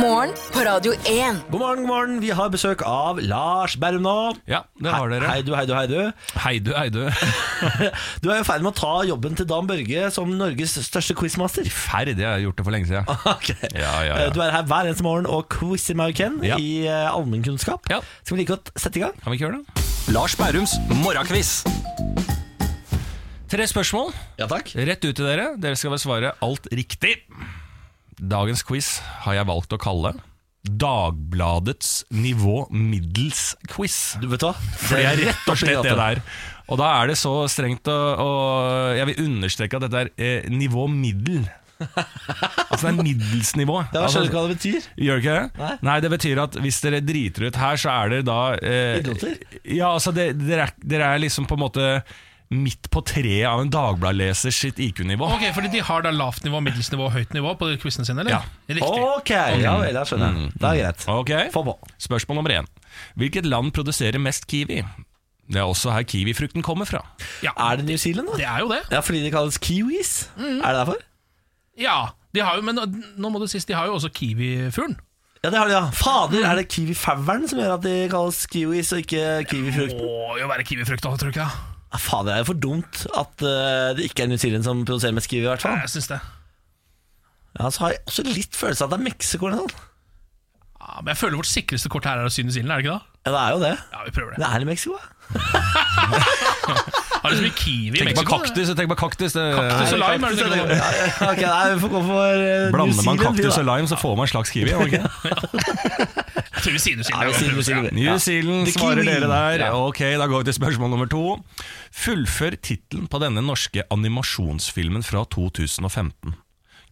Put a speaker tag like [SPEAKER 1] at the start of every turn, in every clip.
[SPEAKER 1] morgen på Radio 1.
[SPEAKER 2] God morgen, god morgen. Vi har besøk av Lars Berrum nå.
[SPEAKER 3] Ja, det har dere.
[SPEAKER 2] Hei du, hei du, hei du.
[SPEAKER 3] Hei du, hei du.
[SPEAKER 2] Du er i ferd med å ta jobben til Dan Børge som Norges største quizmaster.
[SPEAKER 3] Ferdig, jeg har gjort det for lenge siden.
[SPEAKER 2] Ok. Eh,
[SPEAKER 3] Ja, ja, ja.
[SPEAKER 2] Du er her hver eneste morgen og quizer meg og Ken
[SPEAKER 3] Ja.
[SPEAKER 2] i eh, allmennkunnskap.
[SPEAKER 3] Ja.
[SPEAKER 2] Skal vi like godt sette i gang?
[SPEAKER 3] Kan vi ikke gjøre det?
[SPEAKER 4] Lars Bærums morgenkviss.
[SPEAKER 3] Tre spørsmål,
[SPEAKER 2] Ja takk.
[SPEAKER 3] rett ut til dere. Dere skal besvare alt riktig. Dagens quiz har jeg valgt å kalle Dagbladets nivå middels quiz.
[SPEAKER 2] Du vet hva?
[SPEAKER 3] For det er
[SPEAKER 2] Det er
[SPEAKER 3] rett og slett det der. Og da er det så strengt å, å Jeg vil understreke at dette er eh, nivå middel. Altså det er middelsnivå.
[SPEAKER 2] Ja, jeg skjønner
[SPEAKER 3] Altså,
[SPEAKER 2] ikke hva det betyr.
[SPEAKER 3] Gjør det ikke det?
[SPEAKER 2] Nei.
[SPEAKER 3] det betyr at hvis dere driter ut her, så er dere da eh,
[SPEAKER 2] Idioter?
[SPEAKER 3] Ja, altså, det- dere er, dere er liksom på en måte midt på treet av en Dagbladet-leser sitt IQ-nivå.
[SPEAKER 5] Ok, fordi de har da lavt nivå, middels nivå og høyt nivå på quizene sine, eller?
[SPEAKER 3] Ja.
[SPEAKER 5] Riktig.
[SPEAKER 2] Ok, ja vel, da skjønner jeg.
[SPEAKER 3] Mm.
[SPEAKER 2] Det er greit.
[SPEAKER 3] Ok,
[SPEAKER 2] Få på.
[SPEAKER 3] Spørsmål nummer én. Hvilket land produserer mest kiwi? Det er også her kiwifrukten kommer fra.
[SPEAKER 5] Ja,
[SPEAKER 2] Er det New Zealand, da?
[SPEAKER 5] det er jo det.
[SPEAKER 2] Ja, fordi de kalles kiwis? Er det derfor?
[SPEAKER 5] Ja, de har jo, men nå må du sist, de har jo også kiwifuglen.
[SPEAKER 2] Ja, det har de, ja. Fader, er det kiwifauren som gjør at de kalles kiwis og ikke kiwifrukt?
[SPEAKER 5] Må jo være kiwifrukt, da, tror jeg ikke.
[SPEAKER 2] Ja, Fader, det er jo for dumt at eh, det ikke er New Zealand som produserer mest kiwi, i hvert fall.
[SPEAKER 5] Jeg syns det.
[SPEAKER 2] Ja, så har jeg også litt følelse av at det er Mexico eller noe sånt.
[SPEAKER 5] Ja, men jeg føler vårt sikreste kort her er å synes ilden, er det ikke det?
[SPEAKER 2] Ja, det er jo det.
[SPEAKER 5] Ja, vi prøver det.
[SPEAKER 2] Det er i Mexico, ja.
[SPEAKER 5] Har du så mye kiwi i
[SPEAKER 3] Tenk på
[SPEAKER 5] Mexico?
[SPEAKER 3] kaktus! Tenk på kaktus, eh, det,
[SPEAKER 5] Kaktus og lime, er det du tenker på?
[SPEAKER 2] Ja, ja, ok, nei, vi får gå for eh, New
[SPEAKER 3] Blander man
[SPEAKER 2] Zealand. vi,
[SPEAKER 3] kaktus
[SPEAKER 2] da.
[SPEAKER 3] og lime, så får man en slags kiwi. ok?
[SPEAKER 5] Jeg tror vi sier
[SPEAKER 2] Ja, vi sier New
[SPEAKER 5] nusilden.
[SPEAKER 2] Zealand.
[SPEAKER 3] New
[SPEAKER 2] Ja.
[SPEAKER 3] Zealand
[SPEAKER 2] The
[SPEAKER 3] svarer
[SPEAKER 2] kiwi.
[SPEAKER 3] dere der.
[SPEAKER 2] Ja.
[SPEAKER 3] Ok, Da går vi til spørsmål nummer to. Fullfør tittelen på denne norske animasjonsfilmen fra 2015.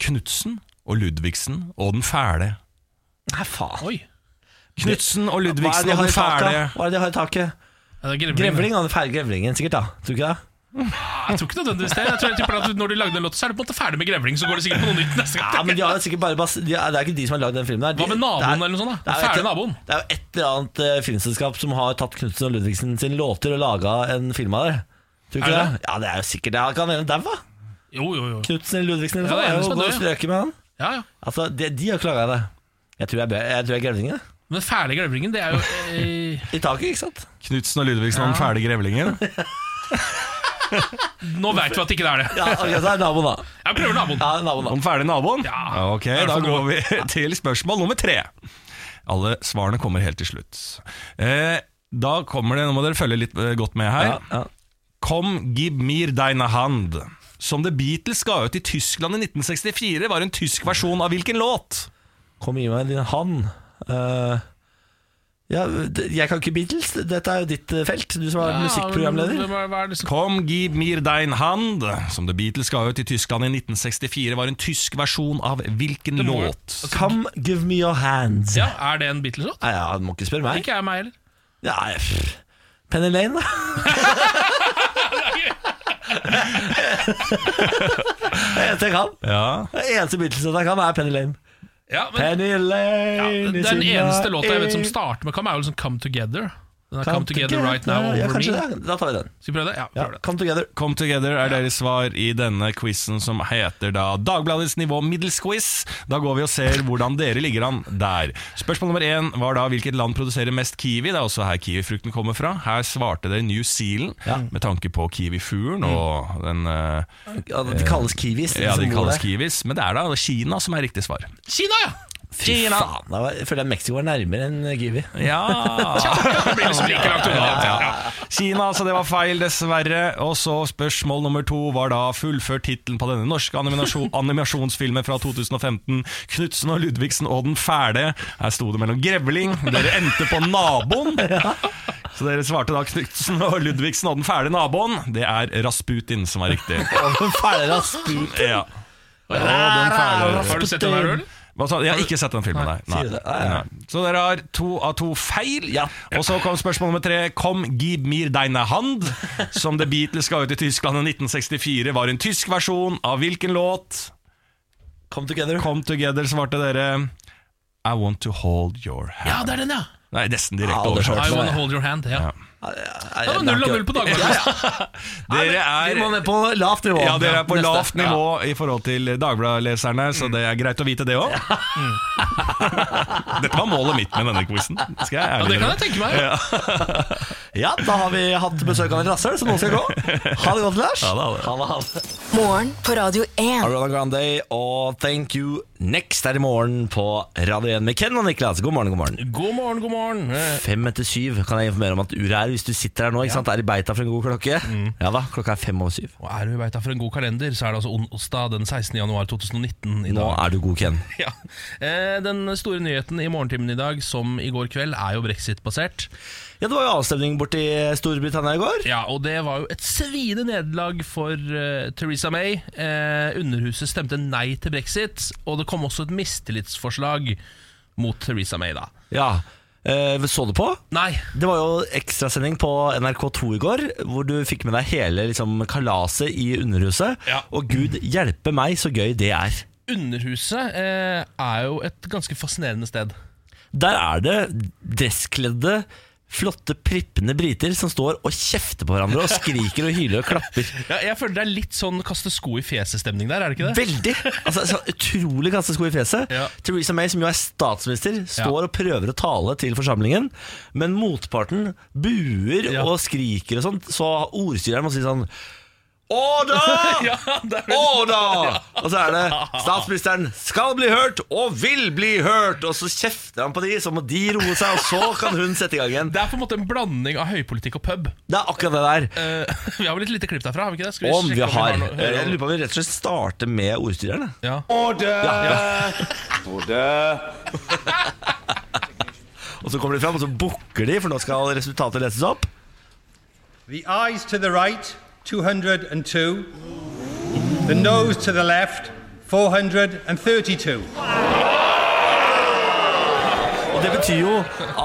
[SPEAKER 3] Knutsen og Ludvigsen og den fæle.
[SPEAKER 2] Nei, faen.
[SPEAKER 5] Oi.
[SPEAKER 3] Knutsen
[SPEAKER 2] Hva
[SPEAKER 3] og
[SPEAKER 2] er
[SPEAKER 3] Ludvigsen
[SPEAKER 2] det de
[SPEAKER 3] og
[SPEAKER 2] har i
[SPEAKER 3] den
[SPEAKER 2] taket? da?
[SPEAKER 3] fæle.
[SPEAKER 2] Hva er det de har i taket?
[SPEAKER 5] Ja, det er grevling.
[SPEAKER 2] Grevling, da. Den fæle grevlingen, sikkert, da. Tror du ikke det?
[SPEAKER 5] Ja, Jeg tror ikke nødvendigvis det. Jeg tror jeg tipper at Når de lagde en låt, så er det på en måte ferdig med grevling, så går det sikkert på noe nytt neste gang.
[SPEAKER 2] Ja, men de har jo sikkert bare bas de er, Det er ikke de som har lagd den filmen. Der. De,
[SPEAKER 5] Hva med naboen eller noe sånt da?
[SPEAKER 2] det er jo
[SPEAKER 5] Fæle
[SPEAKER 2] et-
[SPEAKER 5] naboen.
[SPEAKER 2] Det er jo et eller annet eh, filmselskap som har tatt Knutsen og Ludvigsen sin låter og laga en film av det. Tror du
[SPEAKER 5] Er
[SPEAKER 2] ikke
[SPEAKER 5] det
[SPEAKER 2] det? Ja, det er jo sikkert det. Han kan hende daua.
[SPEAKER 5] Jo, jo, jo.
[SPEAKER 2] Knutsen eller Ludvigsen eller
[SPEAKER 5] Ja,
[SPEAKER 2] noe
[SPEAKER 5] det er
[SPEAKER 2] sånt. Jeg
[SPEAKER 5] eneste
[SPEAKER 2] går
[SPEAKER 5] med
[SPEAKER 2] og
[SPEAKER 5] det,
[SPEAKER 2] strøker med han.
[SPEAKER 5] Ja, ja.
[SPEAKER 2] Altså, de, de har klaga det. Jeg tror jeg, bør- jeg, tror jeg er grevlingen. jeg.
[SPEAKER 5] Men den fæle grevlingen, det er jo eh,
[SPEAKER 2] I taket, ikke sant?
[SPEAKER 3] Knutsen og Ludvigsen og den fæle grevlingen.
[SPEAKER 5] Nå veit vi at det ikke er det.
[SPEAKER 2] Ja, ok, så er det naboen, da.
[SPEAKER 5] Jeg prøver naboen.
[SPEAKER 2] Ja, naboen
[SPEAKER 3] Og
[SPEAKER 2] da
[SPEAKER 3] den fæle naboen?
[SPEAKER 5] Ja.
[SPEAKER 3] Ok,
[SPEAKER 5] Er det
[SPEAKER 3] Da
[SPEAKER 5] for
[SPEAKER 3] går vi til spørsmål nummer tre. Alle svarene kommer helt til slutt. Eh, da kommer det, Nå må dere følge litt eh, godt med her.
[SPEAKER 2] ja, ja.
[SPEAKER 3] Kom, give mir deine hand. Som The Beatles ga ut i Tyskland i 1964, var en tysk versjon av hvilken låt?
[SPEAKER 2] Kom, gi meg din hand. Eh, ja, d- jeg kan ikke Beatles. Dette er jo ditt eh, felt. Du som er
[SPEAKER 5] Ja,
[SPEAKER 2] musikkprogramleder.
[SPEAKER 5] men Hva, hva er det som
[SPEAKER 3] Kom, give mir dein hand, som The Beatles ga ut i Tyskland i 1964, var en tysk versjon av hvilken
[SPEAKER 5] må jo-
[SPEAKER 3] låt?
[SPEAKER 2] Come, give me your hand.
[SPEAKER 5] Ja, Er det en Beatles-låt?
[SPEAKER 2] Nei, ja, du må ikke spørre meg.
[SPEAKER 5] Ikke jeg meg heller.
[SPEAKER 2] Nei, pff. Penny Lane, da. Det eneste jeg kan,
[SPEAKER 3] Ja,
[SPEAKER 2] det eneste Beatles-låta jeg kan, er Penny Lane.
[SPEAKER 5] Ja, men
[SPEAKER 2] Penny Lane
[SPEAKER 5] ja,
[SPEAKER 2] is
[SPEAKER 5] det er Den
[SPEAKER 2] in
[SPEAKER 5] eneste
[SPEAKER 2] my
[SPEAKER 5] låta jeg vet som
[SPEAKER 2] ear.
[SPEAKER 5] starter med Come, er jo liksom Come Together. Den er
[SPEAKER 2] Come
[SPEAKER 5] Come Together Right Now
[SPEAKER 2] ja,
[SPEAKER 5] Over
[SPEAKER 2] kanskje
[SPEAKER 5] Me.
[SPEAKER 2] Det. Da tar vi den.
[SPEAKER 5] Skal vi prøve det? Ja,
[SPEAKER 2] Ja,
[SPEAKER 5] prøv det.
[SPEAKER 2] come together.
[SPEAKER 3] Come Together er deres svar i denne quizen som heter da Dagbladets nivå middels quiz. Da går vi og ser hvordan dere ligger an der. Spørsmål nummer én var da hvilket land produserer mest kiwi. Det er også her kiwifrukten kommer fra. Her svarte dere New Zealand med tanke på kiwifuglen og den eh,
[SPEAKER 2] Ja, de kalles kiwis. liksom,
[SPEAKER 3] Ja, de
[SPEAKER 2] som bor
[SPEAKER 3] kalles
[SPEAKER 2] der.
[SPEAKER 3] kiwis. Men det er da Kina som er riktig svar.
[SPEAKER 5] Kina, ja!
[SPEAKER 2] Fy faen, da var- jeg føler at Mexico er nærmere enn kiwi.
[SPEAKER 3] Ja
[SPEAKER 5] Det blir liksom like langt unna. Ja.
[SPEAKER 3] Kina, altså det var feil, dessverre. Og så spørsmål nummer to var da fullfør tittelen på denne norske animasjon, animasjonsfilmen fra 2015. Knutsen og Ludvigsen og den fæle. Her sto det mellom grevling. Dere endte på naboen. Så dere svarte da Knutsen og Ludvigsen og den fæle naboen. Det er Rasputin som var riktig.
[SPEAKER 2] Fæle Rasputin.
[SPEAKER 3] Ja. Og den fæle
[SPEAKER 5] Har du sett den der, Øl?
[SPEAKER 3] hva sa, jeg har ikke sett den filmen, nei.
[SPEAKER 2] sier
[SPEAKER 3] nei.
[SPEAKER 2] det. Nei, nei.
[SPEAKER 3] Nei. Så dere har to av to feil.
[SPEAKER 2] Ja.
[SPEAKER 3] Og så kom spørsmål nummer tre. Kom, give mir deine hand. Som The Beatles ga ut i Tyskland i 1964, var en tysk versjon av hvilken låt?
[SPEAKER 2] Come together.
[SPEAKER 3] Come Together, svarte dere. I Want To Hold Your Hand.
[SPEAKER 5] Ja, det er den, ja!
[SPEAKER 3] Nei, nesten direkte
[SPEAKER 2] Ja, det skjønte
[SPEAKER 3] oversatt.
[SPEAKER 5] I wanna hold your hand. Ja. Det var null og null på
[SPEAKER 2] Ja,
[SPEAKER 5] Dagbladet.
[SPEAKER 2] ja.
[SPEAKER 3] Dere
[SPEAKER 2] Vi må
[SPEAKER 3] er
[SPEAKER 2] ned på lavt nivå.
[SPEAKER 3] ja, dere er på
[SPEAKER 2] Neste. Mm.
[SPEAKER 3] lavt nivå i forhold til Dagbladet-leserne, så det er greit å vite det òg. Dette var målet mitt med denne quizen. Skal jeg
[SPEAKER 5] Ja,
[SPEAKER 3] ærlig
[SPEAKER 5] det kan jeg
[SPEAKER 3] innrømme.
[SPEAKER 5] tenke meg. Ja.
[SPEAKER 2] Ja, da har vi hatt besøk av en rasshøl, så nå skal jeg gå. Ha det godt, Lars.
[SPEAKER 3] Ja, det er det.
[SPEAKER 2] Ha det.
[SPEAKER 1] Morgen på Radio 1.
[SPEAKER 2] Ariana Grande og Thank You Next er i morgen på Radio 1 med Ken og Niklas. God morgen, god morgen.
[SPEAKER 5] God morgen, god morgen. Eh,
[SPEAKER 2] Fem etter syv kan jeg informere om at uret er hvis du sitter her nå. ikke sant? Er i beita for en god klokke.
[SPEAKER 3] Mm.
[SPEAKER 2] Ja da, klokka er fem over syv.
[SPEAKER 5] Og er du i beita for en god kalender, så er det altså onsdag den 16. januar 2019 i
[SPEAKER 2] Nå
[SPEAKER 5] dag.
[SPEAKER 2] er du god, Ken.
[SPEAKER 5] Ja. Eh, Den store nyheten i morgentimen i dag, som i går kveld, er jo brexit-basert.
[SPEAKER 2] Ja, Det var jo avstemning borti Storbritannia i går.
[SPEAKER 5] Ja, og det var jo et sviende nederlag for eh, Theresa May. Eh, underhuset stemte nei til brexit, og det kom også et mistillitsforslag mot Theresa May, da.
[SPEAKER 2] Ja, eh, Så du på?
[SPEAKER 5] Nei.
[SPEAKER 2] Det var jo ekstrasending på NRK2 i går, hvor du fikk med deg hele liksom, kalaset i Underhuset.
[SPEAKER 5] Ja.
[SPEAKER 2] Og gud hjelpe meg, så gøy det er.
[SPEAKER 5] Underhuset eh, er jo et ganske fascinerende sted.
[SPEAKER 2] Der er det dresskledde, flotte, prippende briter som står og kjefter på hverandre og skriker og hyler og klapper.
[SPEAKER 5] Ja, jeg føler det er litt sånn kaste sko i fjeset-stemning der, er det ikke det?
[SPEAKER 2] Veldig! Altså, så Utrolig kastesko i fjeset.
[SPEAKER 5] Ja.
[SPEAKER 2] Theresa May, som jo er statsminister, står
[SPEAKER 5] Ja.
[SPEAKER 2] og prøver å tale til forsamlingen, men motparten buer
[SPEAKER 5] Ja.
[SPEAKER 2] og skriker og sånt, så ordstyreren må si sånn Order!
[SPEAKER 5] Ja, det er vel-
[SPEAKER 2] Order! Og så er det statsministeren skal bli hørt og vil bli hørt, og så kjefter han på de, så må de roe seg, og så kan hun sette i gang igjen.
[SPEAKER 5] det er på en måte en blanding av høypolitikk og pub.
[SPEAKER 2] Det er akkurat det der.
[SPEAKER 5] Eh, vi har vel et lite klipp derfra? har vi ikke det? Skal
[SPEAKER 2] Om vi
[SPEAKER 5] sjekke
[SPEAKER 2] har
[SPEAKER 5] noe- hører
[SPEAKER 2] Jeg
[SPEAKER 5] noe-
[SPEAKER 2] lurer på om vi rett og slett starter med ordstyreren. jeg.
[SPEAKER 5] Ja.
[SPEAKER 2] Og så kommer de fram, og så bukker de, for nå skal resultatet leses opp.
[SPEAKER 6] The eyes to the right, 202. The nose to the left, 432.
[SPEAKER 2] Og det betyr jo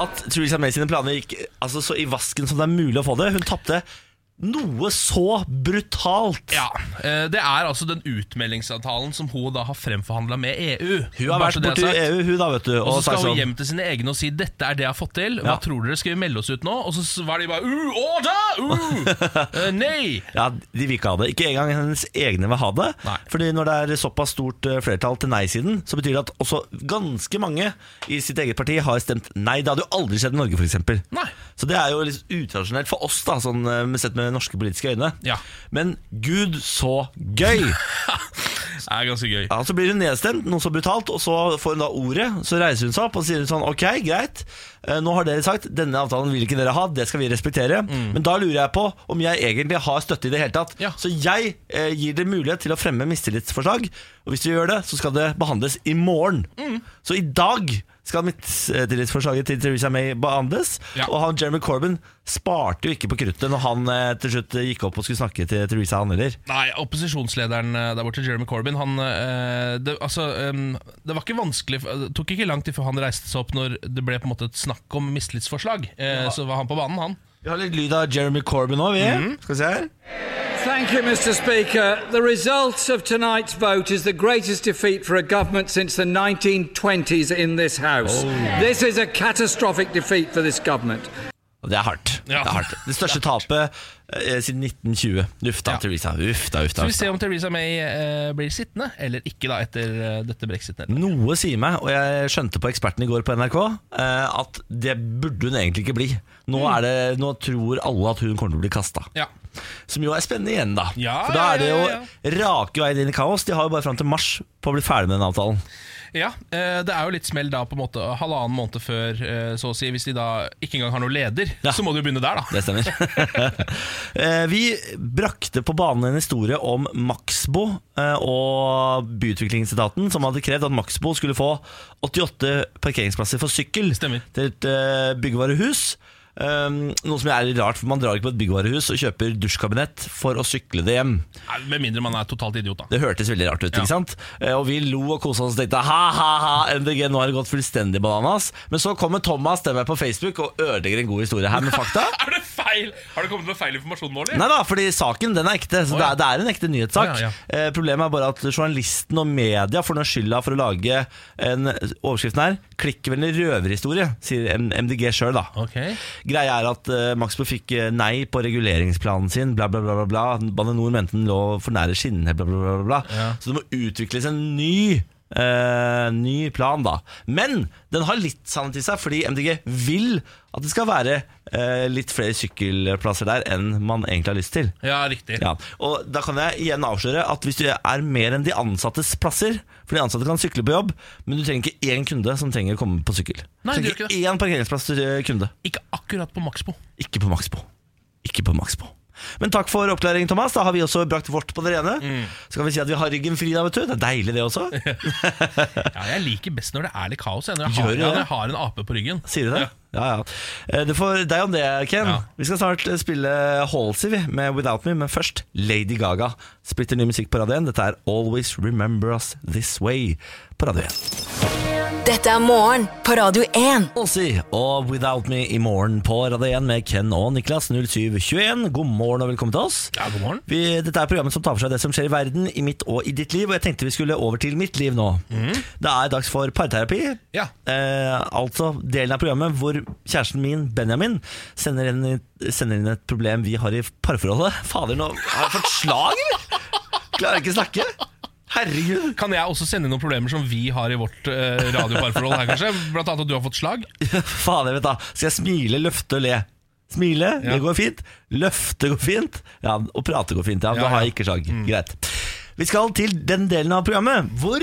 [SPEAKER 2] at Theresa May sine planer gikk altså, så i vasken som det er mulig å få det. Hun tapte noe så brutalt.
[SPEAKER 5] Ja, eh, Det er altså den utmeldingsavtalen som hun da har fremforhandla med EU.
[SPEAKER 2] Hun har
[SPEAKER 5] Bare
[SPEAKER 2] vært
[SPEAKER 5] så det er
[SPEAKER 2] borti E
[SPEAKER 5] sagt.
[SPEAKER 2] EU, hun da, vet du.
[SPEAKER 5] Og så
[SPEAKER 2] sagt
[SPEAKER 5] skal hun
[SPEAKER 2] sånn,
[SPEAKER 5] hjem til sine egne og si 'dette er det jeg har fått til'.
[SPEAKER 2] Ja.
[SPEAKER 5] Hva tror dere, skal vi melde oss ut nå? Og så s- var de bare uh, order! Uh! Eh, nei!
[SPEAKER 2] Ja, De vil ikke ha det. Ikke engang hennes egne vil ha det.
[SPEAKER 5] Nei.
[SPEAKER 2] Fordi når det er såpass stort eh, flertall til nei-siden, så betyr det at også ganske mange i sitt eget parti har stemt nei. Det hadde jo aldri skjedd i Norge,
[SPEAKER 5] Nei.
[SPEAKER 2] f.eks. Så det er jo litt utradisjonelt for oss, da, sånn eh, med- sett med norske politiske øyne.
[SPEAKER 5] Ja.
[SPEAKER 2] Men gud, så gøy!
[SPEAKER 5] Det er ganske gøy.
[SPEAKER 2] Ja, Så blir hun nedstemt, noe så brutalt, og så får hun da ordet. Så reiser hun seg opp og sier hun sånn Ok, greit, eh, nå har dere sagt denne avtalen vil ikke dere ha, det skal vi respektere. Men da lurer jeg på om jeg egentlig har støtte i det hele tatt.
[SPEAKER 5] Mm. Ja.
[SPEAKER 2] Så jeg eh, gir dere mulighet til å fremme mistillitsforslag, og hvis dere gjør det, så skal det behandles i morgen.
[SPEAKER 5] Mm.
[SPEAKER 2] Så i dag skal mistillitsforslaget til Theresa May behandles,
[SPEAKER 5] Ja.
[SPEAKER 2] og han Jeremy Corbyn sparte jo ikke på kruttet når han eh, til slutt eh, gikk opp og skulle snakke til Theresa, han heller.
[SPEAKER 5] Nei, opposisjonslederen eh, der borte, Jeremy Corbyn, han eh, det, altså, em, det var ikke vanskelig Det tok ikke lang tid før han reiste seg opp når det ble på en måte et snakk om mistillitsforslag. Eh, Så var han på banen, han.
[SPEAKER 2] Vi har litt lyd av Jeremy Corbyn nå, vi. Skal vi se her.
[SPEAKER 7] Thank you, Mr. Speaker. The result of tonight's vote is the greatest defeat for a government since the 1920s in this House. This is a catastrophic defeat for this government.
[SPEAKER 2] Og det er hardt.
[SPEAKER 5] Ja.
[SPEAKER 2] Det, er hardt. det største tapet eh, siden 1920. Uff da,
[SPEAKER 5] Ja.
[SPEAKER 2] Theresa. Uff da, uff da.
[SPEAKER 5] Så vi
[SPEAKER 2] Uff da.
[SPEAKER 5] ser om Theresa May eh, blir sittende eller ikke da etter eh, dette brexit-nederlaget.
[SPEAKER 2] Noe sier meg, og jeg skjønte på Eksperten i går på NRK, eh, at det burde hun egentlig ikke bli. Nå,
[SPEAKER 5] Mm.
[SPEAKER 2] er det, nå tror alle at hun kommer til å bli kasta.
[SPEAKER 5] Ja.
[SPEAKER 2] Som jo er spennende igjen, da.
[SPEAKER 5] Ja,
[SPEAKER 2] For da er det
[SPEAKER 5] ja,
[SPEAKER 2] jo
[SPEAKER 5] ja,
[SPEAKER 2] rake veien inn i kaos. De har jo bare fram til mars på å bli ferdig med den avtalen.
[SPEAKER 5] ja, eh, det er jo litt smell da på en måte halvannen måned før, eh, så å si. Hvis de da ikke engang har noen leder,
[SPEAKER 2] Ja.
[SPEAKER 5] så må de jo begynne der, da.
[SPEAKER 2] Det stemmer. Eh, Vi brakte på banen en historie om Maxbo eh, og byutviklingsetaten, som hadde krevd at Maxbo skulle få 88 parkeringsplasser for sykkel
[SPEAKER 5] Stemmer.
[SPEAKER 2] til et eh, byggevarehus. Um, noe som er litt rart, for man drar ikke på et byggevarehus og kjøper dusjkabinett for å sykle det hjem.
[SPEAKER 5] Nei, Med mindre man er totalt idiot, da.
[SPEAKER 2] Det hørtes veldig rart ut,
[SPEAKER 5] Ja.
[SPEAKER 2] ikke sant? Eh, Og vi lo og kosa oss og tenkte ha, ha, ha, MDG, nå har det gått fullstendig bananas. Men så kommer Thomas til meg på Facebook og ødelegger en god historie her med fakta.
[SPEAKER 5] Er det feil? feil? Har det kommet med feil informasjon nå, eller?
[SPEAKER 2] Nei da, fordi saken den er ekte. Så
[SPEAKER 5] Å, ja.
[SPEAKER 2] det, er, det er en ekte nyhetssak.
[SPEAKER 5] Å, ja,
[SPEAKER 2] Eh, problemet er bare at journalisten og media får noe skylda for å lage en overskriften her. 'Klikkvennlig røverhistorie', sier M- MDG sjøl, da.
[SPEAKER 5] Ok.
[SPEAKER 2] Greia er at eh, Maxbo fikk eh, nei på reguleringsplanen sin, bla, bla, bla. bla, bla. Bane Nor mente den lå for nære skinnene, bla, bla, bla. bla, bla.
[SPEAKER 5] Ja.
[SPEAKER 2] Så det må utvikles en ny eh, ny plan, da. Men den har litt sannhet i seg, fordi MDG vil at det skal være eh, litt flere sykkelplasser der enn man egentlig har lyst til.
[SPEAKER 5] Ja, riktig.
[SPEAKER 2] Ja, og Da kan jeg igjen avsløre at hvis du er mer enn de ansattes plasser For de ansatte kan sykle på jobb, men du trenger ikke én kunde som trenger å komme på sykkel.
[SPEAKER 5] Nei,
[SPEAKER 2] du
[SPEAKER 5] det
[SPEAKER 2] trenger
[SPEAKER 5] gjør ikke
[SPEAKER 2] ikke én parkeringsplass til eh, kunde.
[SPEAKER 5] Ikke akkurat på Maxbo.
[SPEAKER 2] Ikke på Maxbo. Ikke på Maxbo. Men takk for oppklaringen, Thomas. Da har vi også brakt vårt på det rene.
[SPEAKER 5] Mm.
[SPEAKER 2] Så kan vi si at vi har ryggen fri da, vet du. Det er deilig, det også.
[SPEAKER 5] Ja, jeg liker best når det er litt kaos. Jeg, når jeg,
[SPEAKER 2] Gjør
[SPEAKER 5] har,
[SPEAKER 2] du
[SPEAKER 5] ja,
[SPEAKER 2] det?
[SPEAKER 5] når jeg har en ape på ryggen.
[SPEAKER 2] Sier du det? Ja, ja. Eh, Det får deg om det, Ken.
[SPEAKER 5] Ja.
[SPEAKER 2] Vi skal snart eh, spille Halsey vi, med Without Me, men først Lady Gaga. Splitter ny musikk på Radio 1. Dette er Always Remember Us This Way på Radio 1.
[SPEAKER 1] Dette er morgen på Radio 1.
[SPEAKER 2] Halsey og Without Me i morgen på Radio 1 med Ken og Niklas 0721. God morgen og velkommen til oss.
[SPEAKER 5] Ja, god morgen.
[SPEAKER 2] Vi, dette er programmet som tar for seg det som skjer i verden, i mitt og i ditt liv. Og jeg tenkte vi skulle over til mitt liv nå. Det er dags for parterapi.
[SPEAKER 5] Mhm. Ja.
[SPEAKER 2] Eh, altså delen av programmet hvor kjæresten min, Benjamin, sender inn, sender inn et problem vi har i parforholdet. Fader, nå har jeg fått slag, eller? Klarer ikke å snakke. Herregud.
[SPEAKER 5] Kan jeg også sende inn noen problemer som vi har i vårt eh, radioparforhold her, kanskje? Blant annet at du har fått slag.
[SPEAKER 2] Fader, vet du. da. Skal jeg smile, løfte og le? Smile,
[SPEAKER 5] Ja.
[SPEAKER 2] det går fint. Løfte går fint. Ja, og prate går fint. Ja,
[SPEAKER 5] Ja,
[SPEAKER 2] Da har
[SPEAKER 5] ja. Mm.
[SPEAKER 2] jeg ikke slag. Greit. Vi skal til den delen av programmet hvor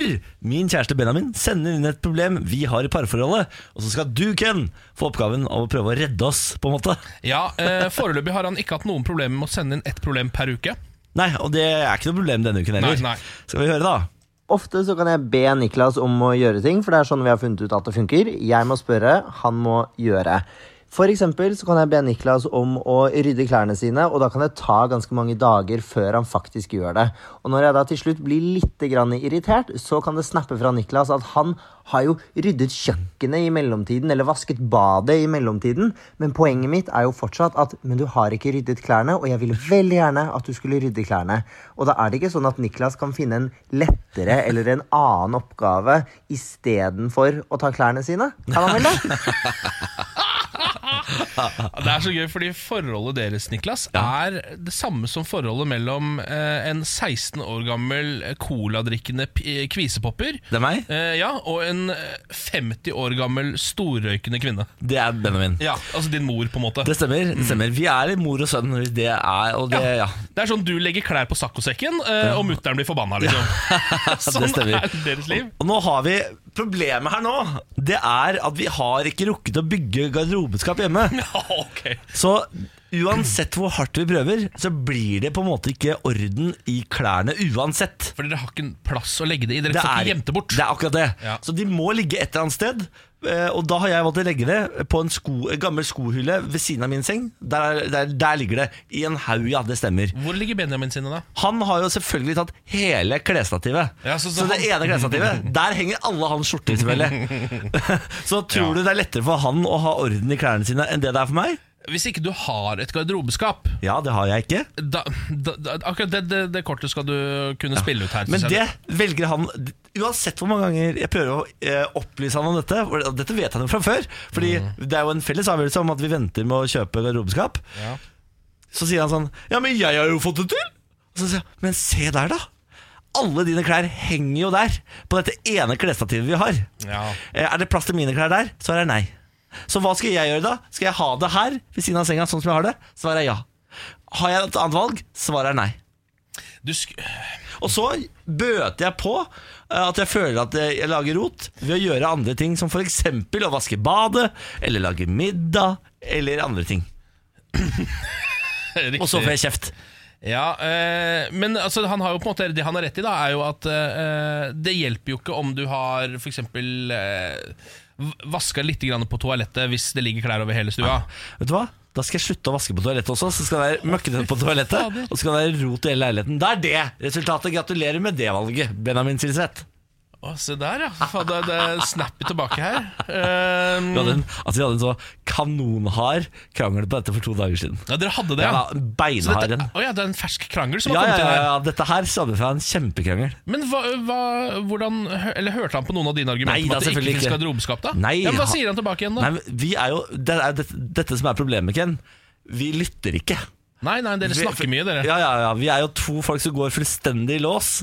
[SPEAKER 2] min kjæreste Benjamin sender inn et problem vi har i parforholdet, og så skal du, Ken, få oppgaven av å prøve å redde oss, på en måte.
[SPEAKER 5] Ja, eh, Foreløpig har han ikke hatt noen problemer med å sende inn ett problem per uke.
[SPEAKER 2] Nei, og det er ikke noe problem denne uken heller.
[SPEAKER 5] Nei, nei.
[SPEAKER 2] Skal vi høre, da?
[SPEAKER 8] Ofte så kan jeg be Niklas om å gjøre ting, for det er sånn vi har funnet ut at det funker. Jeg må spørre, han må gjøre. For eksempel så kan jeg be Niklas om å rydde klærne sine, og da kan det ta ganske mange dager før han faktisk gjør det. Og når jeg da til slutt blir litt grann irritert, så kan det snappe fra Niklas at han har jo ryddet kjøkkenet i mellomtiden, eller vasket badet i mellomtiden, men poenget mitt er jo fortsatt at men du har ikke ryddet klærne, og jeg ville veldig gjerne at du skulle rydde klærne. Og da er det ikke sånn at Niklas kan finne en lettere eller en annen oppgave istedenfor å ta klærne sine. Kan han vel det?
[SPEAKER 5] Ja, Det er så gøy, fordi forholdet deres Niklas, er det samme som forholdet mellom eh, en 16 år gammel eh, coladrikkende p- eh, kvisepopper
[SPEAKER 2] Det er meg?
[SPEAKER 5] eh, ja, og en eh, 50 år gammel storrøykende kvinne.
[SPEAKER 2] Det er Benjamin.
[SPEAKER 5] Ja, Altså din mor, på en måte.
[SPEAKER 2] Det stemmer.
[SPEAKER 5] Mm.
[SPEAKER 2] det stemmer Vi er litt mor og sønn. hvis Det er, og det, ja.
[SPEAKER 5] Det er sånn du legger klær på saccosekken, eh, og mutter'n blir forbanna, liksom. sånn
[SPEAKER 2] det stemmer.
[SPEAKER 5] er deres liv.
[SPEAKER 2] Og nå har vi Problemet her nå Det er at vi har ikke rukket å bygge garderobeskap hjemme.
[SPEAKER 5] Ja, ok
[SPEAKER 2] Så uansett hvor hardt vi prøver, så blir det på en måte ikke orden i klærne uansett.
[SPEAKER 5] For dere har ikke en plass å legge det i. Dere får ikke gjemt det bort.
[SPEAKER 2] det er akkurat det.
[SPEAKER 5] Ja.
[SPEAKER 2] Så de må ligge et eller annet sted. eh, Og da har jeg valgt å legge det på en, sko, en gammel skohylle ved siden av min seng. Der, er- der, der ligger det. I en haug, ja. Det stemmer.
[SPEAKER 5] Hvor ligger Benjamin sine, da?
[SPEAKER 2] Han har jo selvfølgelig tatt hele klesstativet.
[SPEAKER 5] Ja, så-
[SPEAKER 2] så,
[SPEAKER 5] så
[SPEAKER 2] det
[SPEAKER 5] han-
[SPEAKER 2] ene klesstativet, der henger alle hans skjorter, selvfølgelig. så tror
[SPEAKER 5] Ja.
[SPEAKER 2] du det er lettere for han å ha orden i klærne sine enn det det er for meg?
[SPEAKER 5] Hvis ikke du har et garderobeskap
[SPEAKER 2] Ja, det har jeg ikke.
[SPEAKER 5] da, da, da, Akkurat det, det, det kortet skal du kunne spille ut her.
[SPEAKER 2] Men
[SPEAKER 5] synes
[SPEAKER 2] det
[SPEAKER 5] jeg.
[SPEAKER 2] velger han Uansett hvor mange ganger jeg prøver å eh, opplyse han om dette og Dette vet han jo fra før Fordi
[SPEAKER 5] Mm.
[SPEAKER 2] det er jo en felles avgjørelse om at vi venter med å kjøpe garderobeskap
[SPEAKER 5] Ja.
[SPEAKER 2] Så sier han sånn Ja, men jeg har jo fått det til Og så sier han Men se der da alle dine klær henger jo der På dette ene klesstativet vi har
[SPEAKER 5] Ja.
[SPEAKER 2] Eh, Er det plass til mine klær der? Svaret er nei Så hva skal jeg gjøre da? Skal jeg ha det her ved siden av senga sånn som jeg har det? Svaret er ja Har jeg et annet valg? Svaret er nei
[SPEAKER 5] Du sk
[SPEAKER 2] og så bøter jeg på eh, at jeg føler at jeg jeg lager rot ved å gjøre andre ting, som f.eks. å vaske badet, eller lage middag, eller andre ting.
[SPEAKER 5] Riktig.
[SPEAKER 2] Og så får jeg kjeft.
[SPEAKER 5] Ja, eh, men altså, han har jo på en måte Det han har rett i, da er jo at eh, det hjelper jo ikke om du har f.eks. Eh, v- vaska litt grann på toalettet hvis det ligger klær over hele stua.
[SPEAKER 2] Vet du hva? Da skal jeg slutte å vaske på toalettet også, så skal det være møkkete på toalettet.
[SPEAKER 5] fader.
[SPEAKER 2] Og så skal det være rot i hele leiligheten. Det er det resultatet. Gratulerer med det valget, Benjamin Silseth.
[SPEAKER 5] Å, se der, ja. Faen, det, det er snappet tilbake her. Ehm,
[SPEAKER 2] Vi hadde en, altså, vi hadde en så kanonhard krangel på dette for to dager siden.
[SPEAKER 5] ja, dere hadde det,
[SPEAKER 2] Ja,
[SPEAKER 5] ja.
[SPEAKER 2] da,
[SPEAKER 5] Så
[SPEAKER 2] beinhard
[SPEAKER 5] dette,
[SPEAKER 2] en.
[SPEAKER 5] å ja, det er en fersk krangel som
[SPEAKER 2] Ja, ja,
[SPEAKER 5] har kommet
[SPEAKER 2] ja,
[SPEAKER 5] inn her.
[SPEAKER 2] ja, dette her stammer fra en kjempekrangel.
[SPEAKER 5] Men hva, hva, hvordan, hø- eller hørte han på noen av dine
[SPEAKER 2] Nei,
[SPEAKER 5] argumenter om
[SPEAKER 2] da,
[SPEAKER 5] at det ikke
[SPEAKER 2] selvfølgelig
[SPEAKER 5] finnes
[SPEAKER 2] ikke.
[SPEAKER 5] garderobeskap? da?
[SPEAKER 2] Nei,
[SPEAKER 5] ja, men Hva
[SPEAKER 2] han-
[SPEAKER 5] sier han tilbake igjen, da?
[SPEAKER 2] Nei, men vi er jo, det er det, dette som er problemet, Ken. Vi lytter ikke.
[SPEAKER 5] Nei, nei, dere
[SPEAKER 2] Vi-
[SPEAKER 5] snakker mye, dere.
[SPEAKER 2] Ja, ja, ja. Vi er jo to folk som går fullstendig i lås.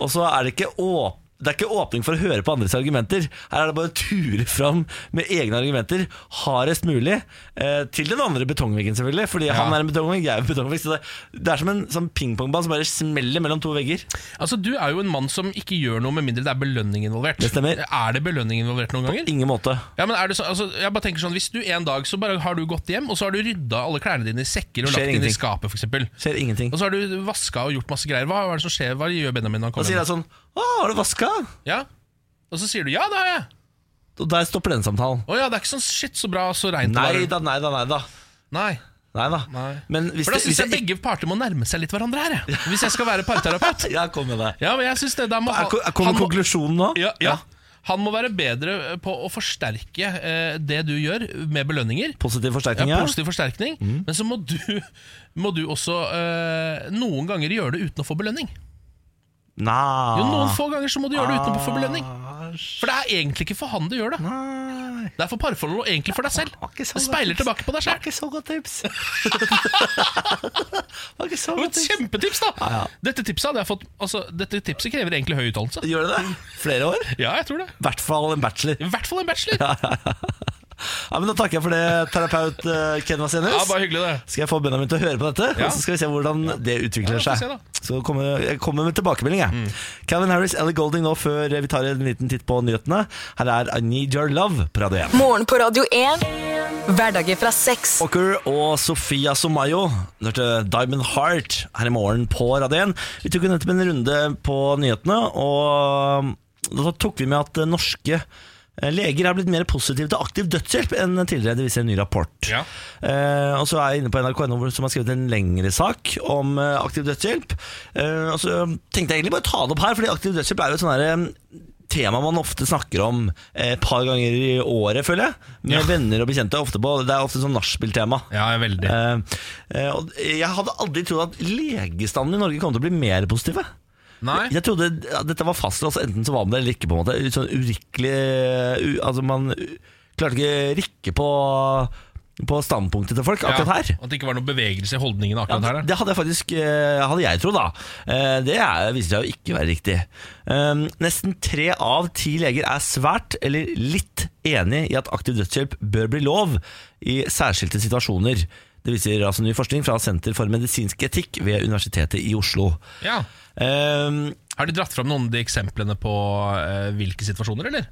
[SPEAKER 2] Og så er det ikke åp det er ikke åpning for å høre på andres argumenter. Her er det bare å ture fram med egne argumenter hardest mulig. Eh, til den andre betongveggen, selvfølgelig. Fordi han er en betongvegg, jeg er en betongvegg. Så det, det er som en sånn pingpongball som bare smeller mellom to vegger.
[SPEAKER 5] Altså, Du er jo en mann som ikke gjør noe med mindre det er belønning involvert.
[SPEAKER 2] Det stemmer.
[SPEAKER 5] Er det belønning involvert noen ganger?
[SPEAKER 2] Ingen måte.
[SPEAKER 5] Ja, men er det så, altså, jeg bare tenker sånn, Hvis du en dag så bare har du gått hjem, og så har du rydda alle klærne dine i sekker og
[SPEAKER 2] Skjer
[SPEAKER 5] lagt inn i
[SPEAKER 2] ingenting.
[SPEAKER 5] skapet, for eksempel
[SPEAKER 2] Skjer ingenting.
[SPEAKER 5] Og så har du vaska og gjort masse greier. Hva er det som skjer? Hva gjør Benjamin når han
[SPEAKER 2] Da
[SPEAKER 5] kommer
[SPEAKER 2] sier jeg
[SPEAKER 5] hjem?
[SPEAKER 2] sånn Å, har du vaska?
[SPEAKER 5] Ja? Og så sier du 'ja, det har jeg'.
[SPEAKER 2] Og der stopper den samtalen.
[SPEAKER 5] Å ja, det er ikke sånn shit, så bra, så reint. det
[SPEAKER 2] Nei
[SPEAKER 5] var».
[SPEAKER 2] da, nei da, nei da.
[SPEAKER 5] Nei.
[SPEAKER 2] Nei da.
[SPEAKER 5] Nei.
[SPEAKER 2] Men hvis,
[SPEAKER 5] For da
[SPEAKER 2] det-
[SPEAKER 5] syns
[SPEAKER 2] hvis
[SPEAKER 5] jeg begge parter må nærme seg litt hverandre her, jeg. Hvis jeg skal være parterapeut.
[SPEAKER 2] Ja, kom med det.
[SPEAKER 5] Ja, men jeg synes det da må
[SPEAKER 2] Er, ko- er- kommer
[SPEAKER 5] han må-
[SPEAKER 2] konklusjonen nå?
[SPEAKER 5] ja, ja. Han må være bedre eh, på å forsterke eh, det du gjør, med belønninger.
[SPEAKER 2] Positiv
[SPEAKER 5] Ja,
[SPEAKER 2] forsterkning, ja. Mm.
[SPEAKER 5] positiv forsterkning. Men så må du, må du også eh, noen ganger gjøre det uten å få belønning.
[SPEAKER 2] Nei.
[SPEAKER 5] Jo, noen få ganger så må du gjøre det uten å få belønning. For det er egentlig ikke for han du gjør det.
[SPEAKER 2] Nei.
[SPEAKER 5] Det er for parforholdet og egentlig for deg selv.
[SPEAKER 2] var ikke så
[SPEAKER 5] Det speiler
[SPEAKER 2] godt.
[SPEAKER 5] tilbake på
[SPEAKER 2] Det
[SPEAKER 5] deg
[SPEAKER 2] var
[SPEAKER 5] selv.
[SPEAKER 2] ikke så godt tips. det var ikke så
[SPEAKER 5] Det var
[SPEAKER 2] godt
[SPEAKER 5] et
[SPEAKER 2] tips.
[SPEAKER 5] kjempetips,
[SPEAKER 2] Ah,
[SPEAKER 5] da! Dette tipset hadde jeg fått Altså, dette tipset krever egentlig høy utdannelse.
[SPEAKER 2] Gjør det det? Flere år?
[SPEAKER 5] Ja, jeg tror det.
[SPEAKER 2] I hvert fall en bachelor.
[SPEAKER 5] I hvert fall en bachelor.
[SPEAKER 2] Ja, men Da takker jeg for det, terapeut eh, Ken Vasenius.
[SPEAKER 5] Ja, bare hyggelig det.
[SPEAKER 2] Skal jeg få Benjamin til å høre på dette,
[SPEAKER 5] Ja.
[SPEAKER 2] og så skal vi se hvordan det utvikler
[SPEAKER 5] Ja, vi får se
[SPEAKER 2] seg.
[SPEAKER 5] da. Mm.
[SPEAKER 2] Så kommer, jeg kommer med tilbakemelding. Jeg. Calvin Harris, Ellie Golding nå før vi tar en liten titt på nyhetene. Her er I Need Your Love på Radio 1.
[SPEAKER 1] Morgen på Radio 1. Hverdager fra seks.
[SPEAKER 2] Walker og Sofia Somayo Du hørte Diamond Heart her i morgen på Radio 1. Vi tok jo nettopp en runde på nyhetene, og um, da tok vi med at norske eh, leger er blitt mer positive til aktiv dødshjelp enn tidligere. Det viser en ny rapport.
[SPEAKER 5] Ja.
[SPEAKER 2] Eh, og så er jeg inne på NRK.no hvor- som har skrevet en lengre sak om eh, aktiv dødshjelp. Eh, og så tenkte jeg egentlig bare ta det opp her, fordi aktiv dødshjelp er jo et sånn herre tema man ofte snakker om eh, et par ganger i året, føler jeg. Med venner og bekjente. Ofte på, det er ofte sånn nachspiel-tema.
[SPEAKER 5] Ja, veldig.
[SPEAKER 2] Eh, eh, og jeg hadde aldri trodd at legestanden i Norge kom til å bli mer positive.
[SPEAKER 5] Nei.
[SPEAKER 2] Jeg trodde at dette var fastlåst, enten så var man det eller ikke. på en måte Sånn urikkelig u, Altså Man u- klarte ikke rikke på, på standpunktet til folk akkurat her.
[SPEAKER 5] Ja, at det ikke var noen bevegelse i holdningene
[SPEAKER 2] Ja,
[SPEAKER 5] akkurat her.
[SPEAKER 2] det hadde jeg faktisk eh, Hadde jeg trodd, da. Eh, Det er, viste seg jo ikke være riktig. Um, Nesten tre av ti leger er svært eller litt enig i at aktiv dødshjelp bør bli lov i særskilte situasjoner. Det viser altså ny forskning fra Senter for medisinsk etikk ved Universitetet i Oslo.
[SPEAKER 5] Ja.
[SPEAKER 2] Um,
[SPEAKER 5] Har de dratt fram noen av de eksemplene på eh, hvilke situasjoner, eller?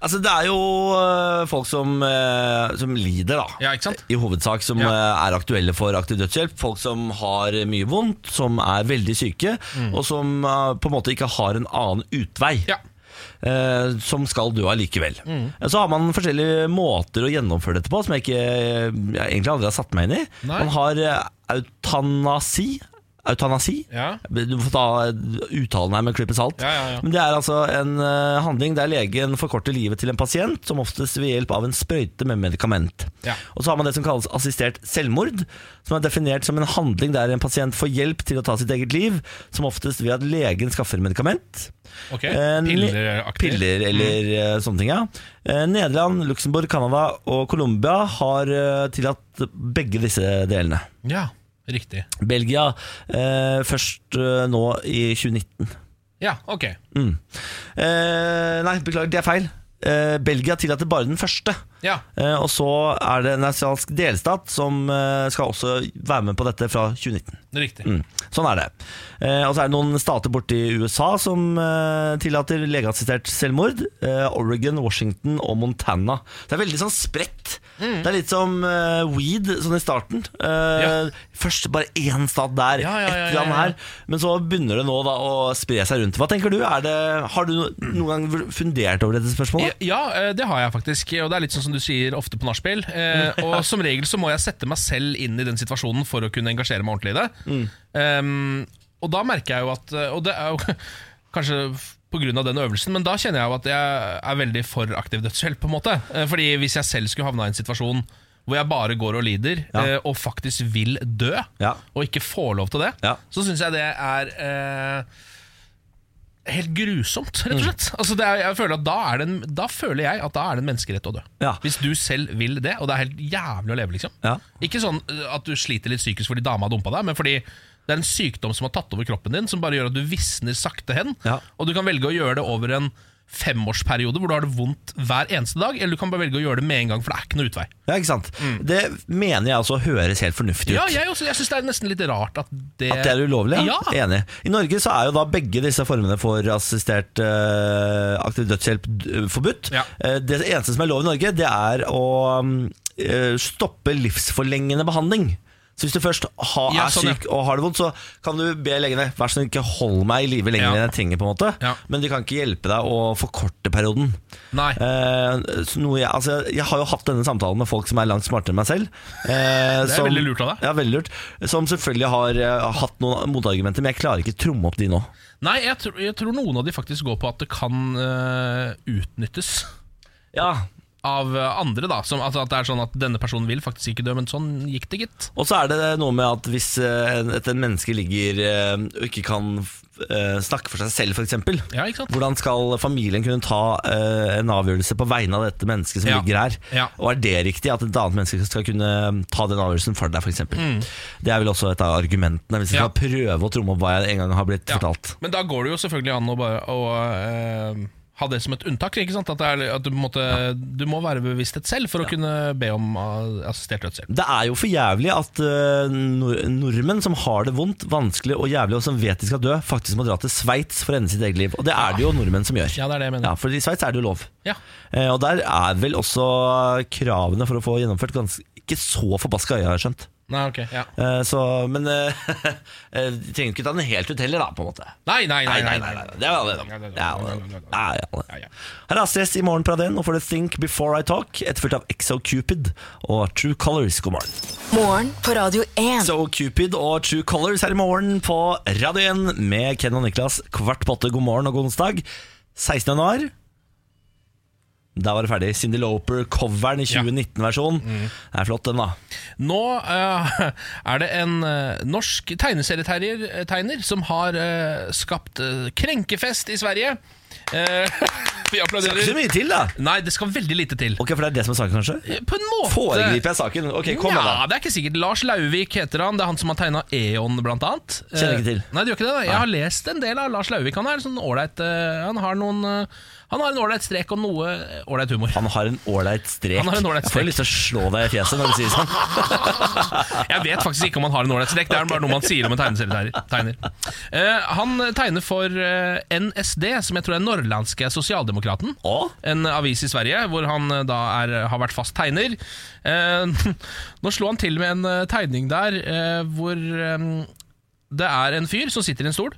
[SPEAKER 2] Altså Det er jo øh, folk som, øh, som lider, da.
[SPEAKER 5] Ja, ikke sant?
[SPEAKER 2] I hovedsak som
[SPEAKER 5] Ja.
[SPEAKER 2] øh, er aktuelle for aktiv dødshjelp. Folk som har mye vondt, som er veldig syke, og som øh, på en måte ikke har en annen utvei.
[SPEAKER 5] Mm. Ja. Mm.
[SPEAKER 2] eh, som skal dø allikevel. Eh, Så har man forskjellige måter å gjennomføre dette på, som jeg, ikke, eh, jeg egentlig aldri har satt meg inn i.
[SPEAKER 5] Nei.
[SPEAKER 2] Man har eh, eutanasi. Eutanasi?
[SPEAKER 5] Ja.
[SPEAKER 2] Du får ta eh, uttalen her med en klype salt.
[SPEAKER 5] Ja, ja, ja.
[SPEAKER 2] Men det er altså en eh, handling der legen forkorter livet til en pasient, som oftest ved hjelp av en sprøyte med medikament.
[SPEAKER 5] Ja.
[SPEAKER 2] Og så har man det som kalles assistert selvmord, som er definert som en handling der en pasient får hjelp til å ta sitt eget liv, som oftest ved at legen skaffer medikament.
[SPEAKER 5] Ok,
[SPEAKER 2] Eh, ne-
[SPEAKER 5] Pilleraktig.
[SPEAKER 2] Piller eller eh, sånne ting, ja. Eh, Nederland, Luxembourg, Canada og Colombia har eh, tillatt begge disse delene.
[SPEAKER 5] Ja, riktig.
[SPEAKER 2] Belgia eh, først eh, nå i 2019.
[SPEAKER 5] Ja, ok.
[SPEAKER 2] Mm. Eh, nei, beklager, det er feil. Eh, Belgia tillater bare den første.
[SPEAKER 5] Ja.
[SPEAKER 2] Eh, og så er det en australsk delstat som eh, skal også være med på dette fra 2019.
[SPEAKER 5] Riktig.
[SPEAKER 2] Mm. Sånn er det. Eh, og så er det noen stater borti USA som eh, tillater legeassistert selvmord. Eh, Oregon, Washington og Montana. Så Det er veldig sånn spredt.
[SPEAKER 5] Mm.
[SPEAKER 2] Det er litt som eh, weed sånn i starten. Eh,
[SPEAKER 5] Ja.
[SPEAKER 2] Først bare én stat der,
[SPEAKER 5] Ja, ja, ja,
[SPEAKER 2] ett
[SPEAKER 5] ja,
[SPEAKER 2] land
[SPEAKER 5] ja.
[SPEAKER 2] her. Men så begynner det nå da å spre seg rundt. Hva tenker du? Er det, har du no- noen gang fundert over dette
[SPEAKER 5] Ja,
[SPEAKER 2] spørsmålet?
[SPEAKER 5] Ja, eh, det har jeg faktisk. Og det er litt sånn som du sier ofte på nachspiel. Eh,
[SPEAKER 2] Mm.
[SPEAKER 5] Og som regel så må jeg sette meg selv inn i den situasjonen for å kunne engasjere
[SPEAKER 2] Mm.
[SPEAKER 5] Ehm, eh, meg ordentlig i det. Um, og da merker jeg jo at Og det er jo kanskje pga. den øvelsen, men da kjenner jeg jo at jeg er veldig for aktiv dødshjelp. på en måte Eh, Fordi hvis jeg selv skulle havna i en situasjon hvor jeg bare går og lider,
[SPEAKER 2] Ja.
[SPEAKER 5] eh, og faktisk vil dø,
[SPEAKER 2] Ja.
[SPEAKER 5] og ikke får lov til det,
[SPEAKER 2] Ja.
[SPEAKER 5] så syns jeg det er eh, Helt grusomt,
[SPEAKER 2] Mm.
[SPEAKER 5] rett og slett. Altså det er, jeg føler at da, er det en, da føler jeg at da er det en menneskerett å dø.
[SPEAKER 2] Ja.
[SPEAKER 5] Hvis du selv vil det, og det er helt jævlig å leve, liksom.
[SPEAKER 2] Ja.
[SPEAKER 5] Ikke sånn eh, at du sliter litt psykisk fordi dama dumpa deg, men fordi det er en sykdom som har tatt over kroppen din, som bare gjør at du visner sakte hen.
[SPEAKER 2] Ja.
[SPEAKER 5] Og du kan velge å gjøre det over en femårsperiode hvor du har det vondt hver eneste dag, eller du kan bare velge å gjøre det med en gang, for det er ikke noe utvei.
[SPEAKER 2] Ja, ikke sant? Det mener jeg også høres helt fornuftig ut.
[SPEAKER 5] Mm. Ja, jeg også- jeg syns det er nesten litt rart at det
[SPEAKER 2] At det er ulovlig?
[SPEAKER 5] Ja.
[SPEAKER 2] Enig. I Norge så er jo da begge disse formene for assistert eh, aktiv dødshjelp d- forbudt.
[SPEAKER 5] Ja.
[SPEAKER 2] Eh, det eneste som er lov i Norge, det er å mm, eh, stoppe livsforlengende behandling. Så hvis du først ha,
[SPEAKER 5] Ja,
[SPEAKER 2] er
[SPEAKER 5] sånn, ja.
[SPEAKER 2] syk og har det vondt, så kan du be legene Vær så snill, ikke hold meg i live lenger
[SPEAKER 5] Ja.
[SPEAKER 2] enn jeg trenger, på en måte.
[SPEAKER 5] Ja.
[SPEAKER 2] Men de kan ikke hjelpe deg å forkorte perioden.
[SPEAKER 5] Nei.
[SPEAKER 2] Eh, så noe jeg, altså, jeg har jo hatt denne samtalen med folk som er langt smartere enn meg selv. eh,
[SPEAKER 5] Det er veldig lurt av deg.
[SPEAKER 2] Ja, veldig lurt. Som selvfølgelig har eh, hatt noen motargumenter, men jeg klarer ikke tromme opp de nå.
[SPEAKER 5] Nei, jeg, tror- jeg tror noen av de faktisk går på at det kan eh, utnyttes
[SPEAKER 2] Ja.
[SPEAKER 5] av eh, andre, da. Som, altså at det er sånn at denne personen vil faktisk ikke dø, men sånn gikk det, gitt.
[SPEAKER 2] Og så er det noe med at hvis eh, en- et en menneske ligger eh, og ikke kan eh, snakke for seg selv, f.eks.
[SPEAKER 5] Ja, ikke sant?
[SPEAKER 2] Hvordan skal familien kunne ta eh, en avgjørelse på vegne av dette mennesket som
[SPEAKER 5] Ja.
[SPEAKER 2] ligger her?
[SPEAKER 5] Ja.
[SPEAKER 2] Og er det riktig at et annet menneske skal kunne ta den avgjørelsen for deg, f.eks.? Det er vel også et av argumentene, hvis vi
[SPEAKER 5] Mm. Ja.
[SPEAKER 2] skal prøve å tromme opp hva jeg en gang har blitt
[SPEAKER 5] Ja,
[SPEAKER 2] fortalt.
[SPEAKER 5] Men da går det jo selvfølgelig an å bare å, eh, ha det som et unntak. Ikke sant? At, det er, at du, på en måte- du må være bevissthet selv for å kunne be om eh, assistert dødshjelp.
[SPEAKER 2] Det er jo for jævlig at eh, nor nordmenn som har det vondt, vanskelig og jævlig, og som vet de skal dø, faktisk må dra til Sveits for å ende sitt eget liv. Og det er det jo nordmenn som gjør.
[SPEAKER 5] Ah. Ja, det er det jeg
[SPEAKER 2] Ja,
[SPEAKER 5] mener.
[SPEAKER 2] for i Sveits er det jo lov.
[SPEAKER 5] Ja.
[SPEAKER 2] Eh, og der er vel også kravene for å få gjennomført ganske, ikke så forbaska øye, har jeg skjønt.
[SPEAKER 5] Nei, ok. Ja.
[SPEAKER 2] Eh, så, men eh, eh, de trenger ikke ta den helt ut heller, da, på en måte.
[SPEAKER 5] Nei, nei, nei.
[SPEAKER 2] Nei, nei, nei. nei. Det er alle enige om. Det er alle enige om. Det er alle enige om. Her er Astrid S i morgen, Praden. Nå får du Think Before I Talk, etterfulgt av Exo Cupid og True Colors. God morgen.
[SPEAKER 1] Morgen på Radio 1.
[SPEAKER 2] So Cupid og True Colors her i morgen på Radio 1 med Ken og Niklas. Kvart på åtte, god morgen og god onsdag. 16. januar. Da var det ferdig. Cindy Loper-coveren i 2019-versjonen. Det er flott, den, da.
[SPEAKER 5] Nå eh, er det en eh, norsk tegneserietegner tegner som har eh, skapt eh, krenkefest i Sverige. Eh,
[SPEAKER 2] Det er
[SPEAKER 5] vi
[SPEAKER 2] ikke så
[SPEAKER 5] applauderer.
[SPEAKER 2] mye til, da.
[SPEAKER 5] Nei, det skal veldig lite til.
[SPEAKER 2] Ok, For det er det som er saken, kanskje?
[SPEAKER 5] På en måte.
[SPEAKER 2] Foregriper jeg saken? Ok, kom med
[SPEAKER 5] ja,
[SPEAKER 2] det.
[SPEAKER 5] det er ikke sikkert. Lars Lauvik heter han. Det er han som har tegna Eon, blant annet.
[SPEAKER 2] Kjenner ikke til.
[SPEAKER 5] Eh, Nei, det gjør ikke det. da. Jeg har lest en del av Lars Lauvik. Han er sånn ålreit eh, Han har noen eh, Han har en ålreit strek og noe eh, ålreit humor.
[SPEAKER 2] Han har en ålreit strek.
[SPEAKER 5] Han har en ålreit
[SPEAKER 2] Jeg får
[SPEAKER 5] strek.
[SPEAKER 2] lyst til å slå deg i fjeset når du sier sånn.
[SPEAKER 5] Jeg vet faktisk ikke om han har en ålreit strek. Det er bare noe man sier om en tegneserietegner. Eh, han tegner for eh, NSD, som jeg tror er Norrlandske Sosialdemokraten.
[SPEAKER 2] Å?
[SPEAKER 5] en avis i Sverige, hvor han eh, da er, har vært fast tegner. Eh, nå slo han til med en eh, tegning der eh, hvor eh, det er en fyr som sitter i en stol,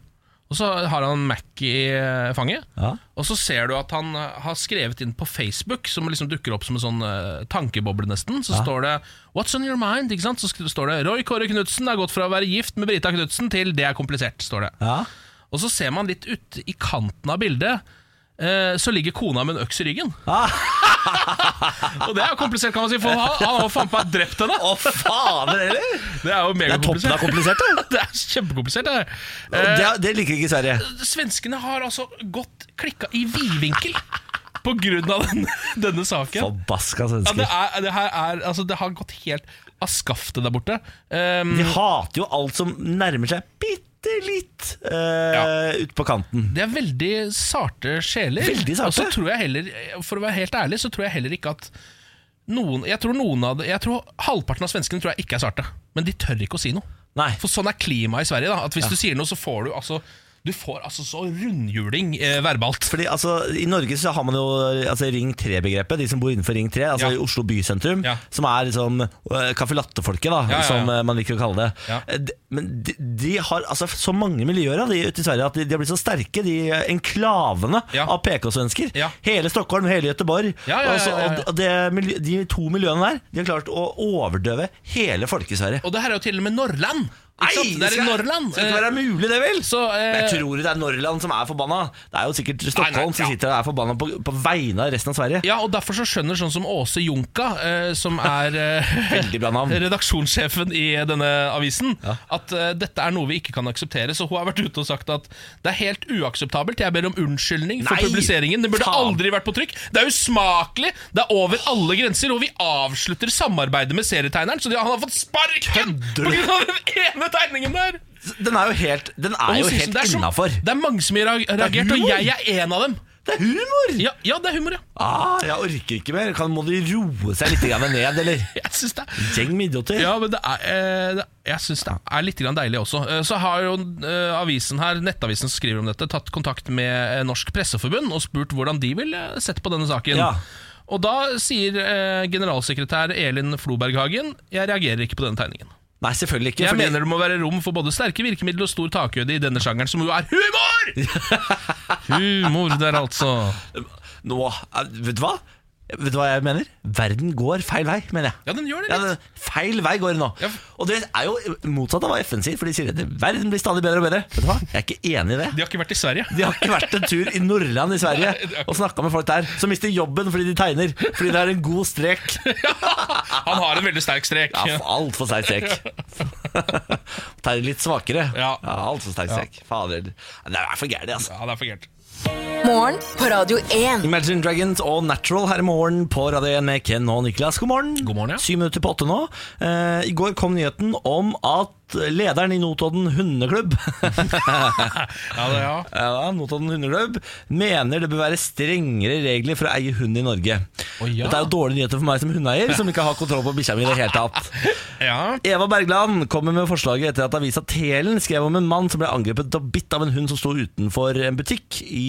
[SPEAKER 5] og så har han Mac i eh, fanget.
[SPEAKER 2] Ja.
[SPEAKER 5] Og så ser du at han eh, har skrevet inn på Facebook, som liksom dukker opp som en sånn eh, tankeboble, nesten. Så står det 'What's on your mind?' ikke sant? Så sk- står det 'Roy Kåre Knutsen har gått fra å være gift med Brita Knutsen til 'det er komplisert'. står det.
[SPEAKER 2] Ja.
[SPEAKER 5] Og så ser man litt ut i kanten av bildet eh, så ligger kona med en øks i ryggen.
[SPEAKER 2] Ah.
[SPEAKER 5] og det er jo komplisert, kan man si. For han, han har jo faen meg drept henne!
[SPEAKER 2] Å, fader heller!
[SPEAKER 5] Det er
[SPEAKER 2] Det er
[SPEAKER 5] jo
[SPEAKER 2] toppen av
[SPEAKER 5] megakomplisert.
[SPEAKER 2] komplisert, det.
[SPEAKER 5] Det er kjempekomplisert. Det.
[SPEAKER 2] Og
[SPEAKER 5] her.
[SPEAKER 2] Det, det liker ikke Sverige.
[SPEAKER 5] Eh, svenskene har altså gått klikka i vidvinkel på grunn av den, denne saken.
[SPEAKER 2] Forbaska
[SPEAKER 5] Ja, det,
[SPEAKER 2] svensker.
[SPEAKER 5] er, det her er Altså, det har gått helt av skaftet der borte. Um,
[SPEAKER 2] De hater jo alt som nærmer seg bitte litt eh, ut på kanten.
[SPEAKER 5] Det er veldig sarte sjeler.
[SPEAKER 2] Veldig sarte.
[SPEAKER 5] Og så tror jeg heller, for å være helt ærlig, så tror jeg heller ikke at noen Jeg tror noen av det, jeg tror halvparten av svenskene tror jeg ikke er sarte. Men de tør ikke å si noe.
[SPEAKER 2] Nei.
[SPEAKER 5] For sånn er klimaet i Sverige. da At Hvis du sier noe, så får du altså Du får altså så rundhjuling eh, verbalt.
[SPEAKER 2] Fordi altså, I Norge så har man jo altså, Ring 3-begrepet, de som bor innenfor Ring 3, altså
[SPEAKER 5] Ja.
[SPEAKER 2] i Oslo bysentrum,
[SPEAKER 5] Ja.
[SPEAKER 2] som er liksom eh, caffè latte-folket, da,
[SPEAKER 5] Ja, ja, ja.
[SPEAKER 2] som eh, man liker å kalle det.
[SPEAKER 5] Ja.
[SPEAKER 2] Eh, de- Men de, de har altså så mange miljøer av de ute i Sverige at de, de har blitt så sterke, de eh, enklavene
[SPEAKER 5] Ja.
[SPEAKER 2] av PK-svensker.
[SPEAKER 5] Ja.
[SPEAKER 2] Hele Stockholm, hele Gøteborg.
[SPEAKER 5] Ja, ja, ja,
[SPEAKER 2] og så-
[SPEAKER 5] ja, ja.
[SPEAKER 2] og de- Og det, miljø- de to miljøene der, de har klart å overdøve hele folket i Sverige.
[SPEAKER 5] Og det her er jo til og med Norrland! Ikke sant? Det er i
[SPEAKER 2] skal-
[SPEAKER 5] Norrland. eh,
[SPEAKER 2] Skal ikke være mulig, det, vel?
[SPEAKER 5] Så, eh,
[SPEAKER 2] Men jeg tror det er Norrland som er forbanna. Det er jo sikkert Stockholm
[SPEAKER 5] Nei, nei, ja.
[SPEAKER 2] som sitter og er forbanna på, på vegne av resten av Sverige.
[SPEAKER 5] Ja, og derfor så skjønner sånn som Åse Junka, eh, som er
[SPEAKER 2] Veldig bra navn.
[SPEAKER 5] eh, redaksjonssjefen i denne avisen, at eh, dette er noe vi ikke kan akseptere. Så hun har vært ute og sagt at det er helt uakseptabelt. Jeg ber om unnskyldning for
[SPEAKER 2] Nei,
[SPEAKER 5] publiseringen. Det burde
[SPEAKER 2] faen.
[SPEAKER 5] aldri vært på trykk. Det er usmakelig. Det er over alle grenser. Og vi avslutter samarbeidet med serietegneren, så de, han har fått sparken
[SPEAKER 2] Kødder du?
[SPEAKER 5] pga. den ene tegningen der!
[SPEAKER 2] Den er jo helt, den er
[SPEAKER 5] Og hun
[SPEAKER 2] jo
[SPEAKER 5] synes
[SPEAKER 2] helt
[SPEAKER 5] det er så-
[SPEAKER 2] innafor.
[SPEAKER 5] Det er mange som har reag- reagert, og
[SPEAKER 2] humor.
[SPEAKER 5] jeg er en av dem.
[SPEAKER 2] Det er humor!
[SPEAKER 5] Ja, ja, det er humor, ja.
[SPEAKER 2] Ah, jeg orker ikke mer. Kan, må de roe seg litt grann ned, eller?
[SPEAKER 5] Jeg synes det er
[SPEAKER 2] Gjeng med idioter.
[SPEAKER 5] Ja, men det er, eh, det, jeg syns det er litt grann deilig også. Eh, Så har jo eh, avisen her, nettavisen som skriver om dette, tatt kontakt med eh, Norsk Presseforbund og spurt hvordan de vil eh, sette på denne saken.
[SPEAKER 2] Ja.
[SPEAKER 5] Og da sier eh, generalsekretær Elin Floberghagen Jeg reagerer ikke på denne tegningen.
[SPEAKER 2] Nei, selvfølgelig ikke.
[SPEAKER 5] Jeg
[SPEAKER 2] fordi-
[SPEAKER 5] mener det må være rom for både sterke virkemidler og stor takhøyde i denne sjangeren, som jo er humor! humor der, altså.
[SPEAKER 2] Nå, eh, vet du hva? Vet du hva jeg mener? Verden går feil vei, mener jeg.
[SPEAKER 5] Ja, den gjør det
[SPEAKER 2] Ja,
[SPEAKER 5] litt.
[SPEAKER 2] det- feil vei går det nå.
[SPEAKER 5] Ja.
[SPEAKER 2] Og det er jo motsatt av hva FN sier, for de sier at verden blir stadig bedre og bedre. Vet du hva? Jeg er ikke enig i det.
[SPEAKER 5] De har ikke vært i Sverige.
[SPEAKER 2] De har ikke vært en tur i Norrland i Sverige og snakka med folk der som mister jobben fordi de tegner. Fordi det er en god strek.
[SPEAKER 5] Han har en veldig sterk strek.
[SPEAKER 2] Ja, altfor sterk strek. Tegner litt svakere.
[SPEAKER 5] Ja.
[SPEAKER 2] Altfor sterk strek. Fader. Det er for gærent, altså.
[SPEAKER 5] Ja, det er for gærent.
[SPEAKER 1] Morgen på Radio 1.
[SPEAKER 2] Imagine Dragons og Natural her i morgen på Radio 1 med Ken og Niklas. God morgen.
[SPEAKER 5] God morgen, ja.
[SPEAKER 2] Syv minutter på åtte nå. Eh, I går kom nyheten om at lederen i Notodden hundeklubb
[SPEAKER 5] Ja, det, ja.
[SPEAKER 2] ja, Notodden hundeklubb mener det bør være strengere regler for å eie hund i Norge.
[SPEAKER 5] Å, ja.
[SPEAKER 2] Dette er jo dårlige nyheter for meg som hundeeier, som ikke har kontroll på bikkja mi i det hele tatt.
[SPEAKER 5] ja.
[SPEAKER 2] Eva Bergland kommer med forslaget etter at avisa Telen skrev om en mann som ble angrepet og bitt av en hund som sto utenfor en butikk i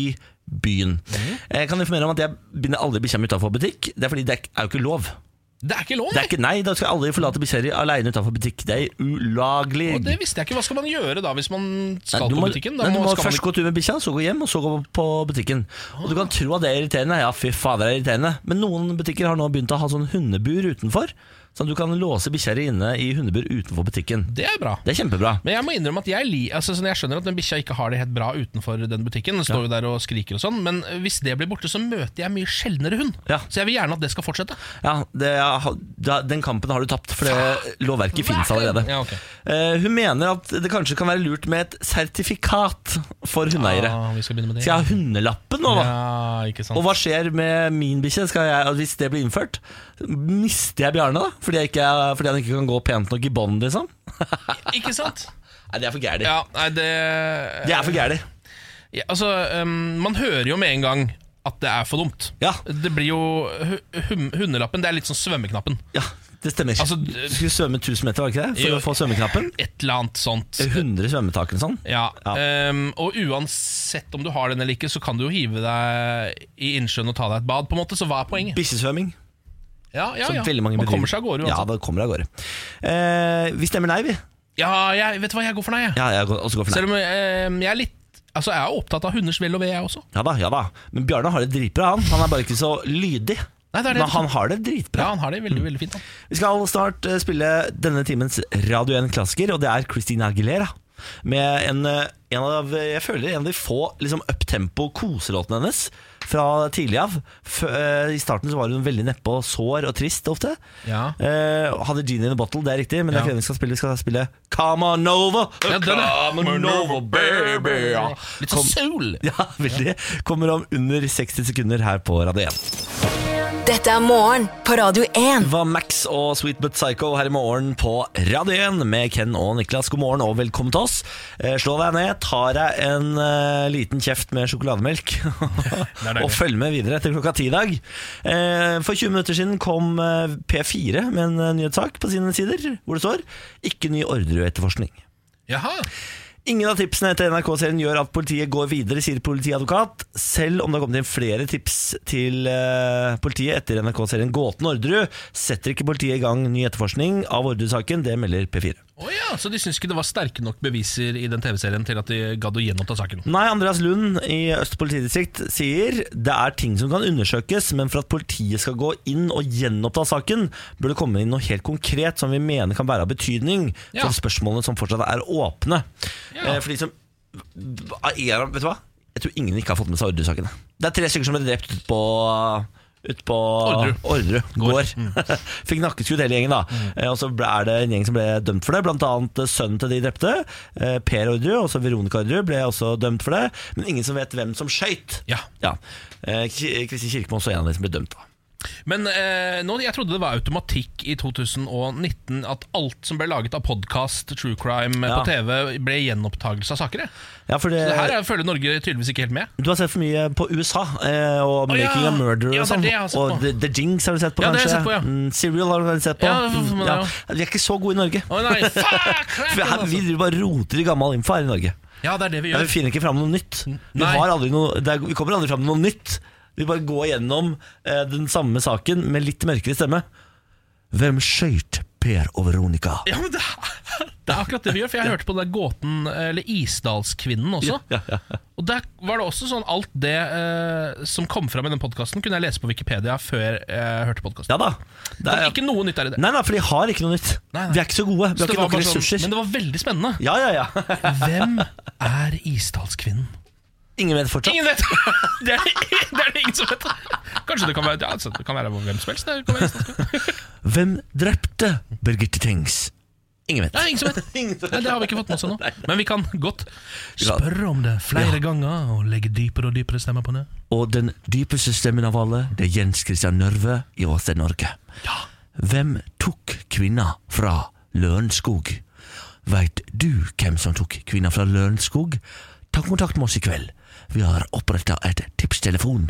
[SPEAKER 2] byen.
[SPEAKER 5] Mhm.
[SPEAKER 2] Jeg kan informere om at jeg binder aldri bikkja mi utenfor butikk. Det er fordi det er er jo ikke lov.
[SPEAKER 5] Det er ikke lov!
[SPEAKER 2] Det er ikke, nei, da skal jeg aldri forlate bikkja di alene utenfor butikk. Det er ulaglig.
[SPEAKER 5] Og det visste jeg ikke. Hva skal man gjøre da hvis man skal
[SPEAKER 2] Nei, du
[SPEAKER 5] på
[SPEAKER 2] må-
[SPEAKER 5] butikken? Da
[SPEAKER 2] nei, du må
[SPEAKER 5] skal man
[SPEAKER 2] først gå tur med bikkja, så gå hjem, og så gå på butikken. Og Du kan tro at det er irriterende. Ja, fy fader, det er irriterende. Men noen butikker har nå begynt å ha sånn hundebur utenfor. Sånn at du kan låse bikkja di inne i hundebur utenfor butikken.
[SPEAKER 5] ikke- det er bra.
[SPEAKER 2] Det er kjempebra.
[SPEAKER 5] Men jeg må innrømme at jeg, li, altså, sånn, jeg skjønner at den bikkja ikke har det helt bra utenfor den butikken. Den står jo der og skriker og sånn. Men hvis det blir borte, så møter jeg mye sjeldnere hund.
[SPEAKER 2] Ja.
[SPEAKER 5] Så jeg vil gjerne at det skal fortsette.
[SPEAKER 2] Ja, det, da- den kampen har du tapt, for det lovverket finnes allerede.
[SPEAKER 5] Ja, ok.
[SPEAKER 2] Eh, hun mener at det kanskje kan være lurt med et sertifikat for hundeeiere.
[SPEAKER 5] Ah, vi skal begynne med det.
[SPEAKER 2] Skal jeg ha hundelappen nå, da?
[SPEAKER 5] Ja, ikke sant.
[SPEAKER 2] Og hva skjer med min bikkje Skal jeg- altså, hvis det blir innført? Mister jeg Bjarne, da? Fordi, jeg ikke, fordi han ikke kan gå pent nok i bånd, liksom?
[SPEAKER 5] Ikke sant?
[SPEAKER 2] Nei, det er for gærent.
[SPEAKER 5] Ja, nei, det
[SPEAKER 2] Det er for gærent.
[SPEAKER 5] Ja, altså, um, man hører jo med en gang at det er for dumt.
[SPEAKER 2] Ja.
[SPEAKER 5] Det blir jo hu- hum- Hundelappen, det er litt som svømmeknappen.
[SPEAKER 2] Ja, det stemmer.
[SPEAKER 5] Altså,
[SPEAKER 2] du skulle svømme 1000 meter, var det ikke det? For
[SPEAKER 5] Jo.
[SPEAKER 2] å få svømmeknappen?
[SPEAKER 5] Et eller annet sånt.
[SPEAKER 2] 100 svømmetak eller sånn?
[SPEAKER 5] Ja,
[SPEAKER 2] Ja.
[SPEAKER 5] ehm, Og uansett om du har den eller ikke, så kan du jo hive deg i innsjøen og ta deg et bad. på en måte, Så hva er poenget?
[SPEAKER 2] Bikkjesvømming.
[SPEAKER 5] Ja, ja,
[SPEAKER 2] Som
[SPEAKER 5] ja.
[SPEAKER 2] veldig mange
[SPEAKER 5] Man
[SPEAKER 2] bedriver.
[SPEAKER 5] kommer seg av gårde
[SPEAKER 2] Ja,
[SPEAKER 5] uansett.
[SPEAKER 2] da kommer jeg av gårde. Eh, vi stemmer nei, vi.
[SPEAKER 5] Ja, jeg, vet du hva, jeg går for nei. Jeg.
[SPEAKER 2] Ja, jeg går, også går for nei.
[SPEAKER 5] Selv om ehm, jeg er litt Altså, jeg er opptatt av hunders vel og ve, jeg også.
[SPEAKER 2] Ja da, ja da. Men Bjarne har det dritbra, han. Han er bare ikke så lydig.
[SPEAKER 5] Nei, det er det.
[SPEAKER 2] Men han har det
[SPEAKER 5] Ja,
[SPEAKER 2] dritbra.
[SPEAKER 5] han har det veldig veldig fint. Han.
[SPEAKER 2] Vi skal snart eh, spille denne timens Radio 1-klassiker, og det er Christina Aguilera. Med en, eh, en av Jeg føler en av de få liksom, uptempo koselåtene hennes fra tidlig av. F eh, I starten så var hun veldig nedpå, sår og trist ofte.
[SPEAKER 5] Ja.
[SPEAKER 2] Eh, hadde Genie in a Bottle, det er riktig, men det er
[SPEAKER 5] Ja.
[SPEAKER 2] ikke den vi skal spille. Vi skal spille Come on over,
[SPEAKER 5] Ja, den er-
[SPEAKER 2] come on over, baby. Ja.
[SPEAKER 5] Litt sånn soul.
[SPEAKER 2] Ja, veldig. Kommer om under 60 sekunder her på Radio 1.
[SPEAKER 1] Dette er morgen på Radio 1.
[SPEAKER 2] Det var Max og Sweet But Psycho her i morgen på Radio 1 med Ken og Niklas. God morgen og velkommen til oss. Eh, Slå deg ned, ta deg en eh, liten kjeft med sjokolademelk
[SPEAKER 5] deilig.
[SPEAKER 2] og følg med videre til klokka ti i dag. Eh, For 20 minutter siden kom eh, P4 med en eh, nyhetssak på sine sider hvor det står 'Ikke ny Orderud-etterforskning'.
[SPEAKER 5] Jaha.
[SPEAKER 2] Ingen av tipsene etter NRK-serien gjør at politiet går videre, sier politiadvokat, selv om det har kommet inn flere tips til eh, politiet etter NRK-serien Gåten Orderud, setter ikke politiet i gang ny etterforskning av Orderud-saken, det melder P4.
[SPEAKER 5] Å ja, Så de syns ikke det var sterke nok beviser i den TV-serien til at de gadd å gjenoppta saken?
[SPEAKER 2] Nei, Andreas Lund i Øst politidistrikt sier det er ting som kan undersøkes, men for at politiet skal gå inn og gjenoppta saken, bør det komme inn noe helt konkret som vi mener kan være av betydning
[SPEAKER 5] Ja.
[SPEAKER 2] for spørsmålene som fortsatt er åpne. Eh, For de som er, Vet du hva? Jeg tror ingen ikke har fått med seg Orderud-sakene. Det er tre stykker som ble drept ut på ut på
[SPEAKER 5] Orderud.
[SPEAKER 2] Orderud gård.
[SPEAKER 5] Mm.
[SPEAKER 2] Fikk nakkeskudd hele gjengen, da. Eh, Og så ble- er det en gjeng som ble dømt for det. Blant annet eh, sønnen til de drepte, eh, Per Orderud, og så Veronica Orderud, ble også dømt for det. Men ingen som vet hvem som skøyt.
[SPEAKER 5] Ja.
[SPEAKER 2] Eh, Ki- Kristin Kirkemo også er en av de som ble dømt. da
[SPEAKER 5] Men eh, nå, jeg trodde det var automatikk i 2019 at alt som ble laget av podkast, true crime eh,
[SPEAKER 2] Ja.
[SPEAKER 5] på TV, ble gjenopptagelse av saker. jeg.
[SPEAKER 2] Ja, for det,
[SPEAKER 5] Så her er, føler Norge tydeligvis ikke helt med.
[SPEAKER 2] Du har sett for mye på USA eh, og
[SPEAKER 5] Å, ja.
[SPEAKER 2] 'Making a Murderer'
[SPEAKER 5] Ja,
[SPEAKER 2] og
[SPEAKER 5] det er
[SPEAKER 2] sånn.
[SPEAKER 5] det jeg har sett
[SPEAKER 2] og
[SPEAKER 5] på.
[SPEAKER 2] The, The Jinx har du sett på,
[SPEAKER 5] Ja, det har jeg
[SPEAKER 2] kanskje.
[SPEAKER 5] sett på, ja.
[SPEAKER 2] mm, Serial har du sett på.
[SPEAKER 5] Ja, det får man
[SPEAKER 2] ja.
[SPEAKER 5] jo.
[SPEAKER 2] Vi er ikke så gode i Norge.
[SPEAKER 5] Å nei, fuck! crap,
[SPEAKER 2] For her, vi
[SPEAKER 5] altså.
[SPEAKER 2] driver bare roter i gammel info her i Norge.
[SPEAKER 5] Ja, det er det
[SPEAKER 2] Ja,
[SPEAKER 5] vi gjør.
[SPEAKER 2] vi finner ikke fram noe nytt. Vi,
[SPEAKER 5] Nei.
[SPEAKER 2] har aldri noe, det er, vi kommer aldri fram med noe nytt. Vi bare går gjennom eh, den samme saken med litt mørkere stemme. Hvem skøyt Per og Veronica?
[SPEAKER 5] Ja, men det, er- det er akkurat det vi gjør. For jeg hørte på den der gåten, eller Isdalskvinnen også.
[SPEAKER 2] Ja, ja, ja.
[SPEAKER 5] Og der var det også sånn alt det eh, som kom fram i den podkasten, kunne jeg lese på Wikipedia før eh, jeg hørte podkasten.
[SPEAKER 2] Ja da. Det er,
[SPEAKER 5] Ikke noe nytt er i det.
[SPEAKER 2] nei, nei, for de har ikke noe nytt.
[SPEAKER 5] Nei, nei.
[SPEAKER 2] Vi er ikke så gode. Vi
[SPEAKER 5] Så
[SPEAKER 2] har
[SPEAKER 5] det
[SPEAKER 2] ikke
[SPEAKER 5] var
[SPEAKER 2] nok
[SPEAKER 5] bare sånn,
[SPEAKER 2] ressurser.
[SPEAKER 5] men det var veldig spennende.
[SPEAKER 2] Ja, ja, ja.
[SPEAKER 5] Hvem er Isdalskvinnen?
[SPEAKER 2] Ingen vet fortsatt.
[SPEAKER 5] Ingen vet! Det er det er det ingen som vet. Kanskje det kan være, ja, altså, det kan være hvem som helst. Det kan være Isdalskvinnen.
[SPEAKER 2] Hvem drepte Birgitte Tengs? Ingen vet.
[SPEAKER 5] Nei, ingen som vet. Nei, det har vi ikke fått med oss ennå. Men vi kan godt
[SPEAKER 2] kan-
[SPEAKER 5] spørre om det flere ganger og legge dypere og dypere stemmer på det.
[SPEAKER 2] Og den dypeste stemmen av alle, det er Jens Christian Nørve i Åsted Norge. Hvem tok kvinna fra Lørenskog? Veit du hvem som tok kvinna fra Lørenskog? Ta kontakt med oss i kveld. Vi har oppretta et tipstelefon.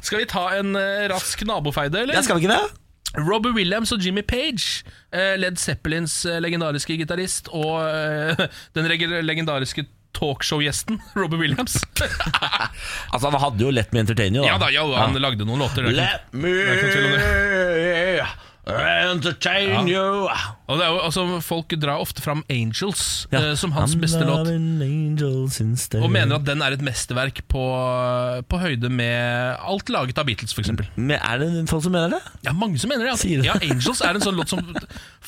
[SPEAKER 5] Skal vi ta en eh, rask nabofeide, eller?
[SPEAKER 2] skal vi ikke det?
[SPEAKER 5] Robbie Williams og Jimmy Page, eh, Led Zeppelins eh, legendariske gitarist og eh, den reg- legendariske talkshow-gjesten Robbie Williams.
[SPEAKER 2] Altså, han hadde jo lett med entertainer,
[SPEAKER 5] ja da, ja, han lagde noen låter. det er ikke-
[SPEAKER 2] Let me
[SPEAKER 5] er ikke noe
[SPEAKER 2] entertain you.
[SPEAKER 5] Og det er jo, altså, folk drar ofte fram Angels eh, som hans beste låt, og mener at den er et mesterverk på, på høyde med alt laget av Beatles, f.eks.
[SPEAKER 2] Men Er det folk som mener det?
[SPEAKER 5] Ja, mange som mener det. Altså.
[SPEAKER 2] Sier du det?
[SPEAKER 5] Ja, Angels er en sånn låt som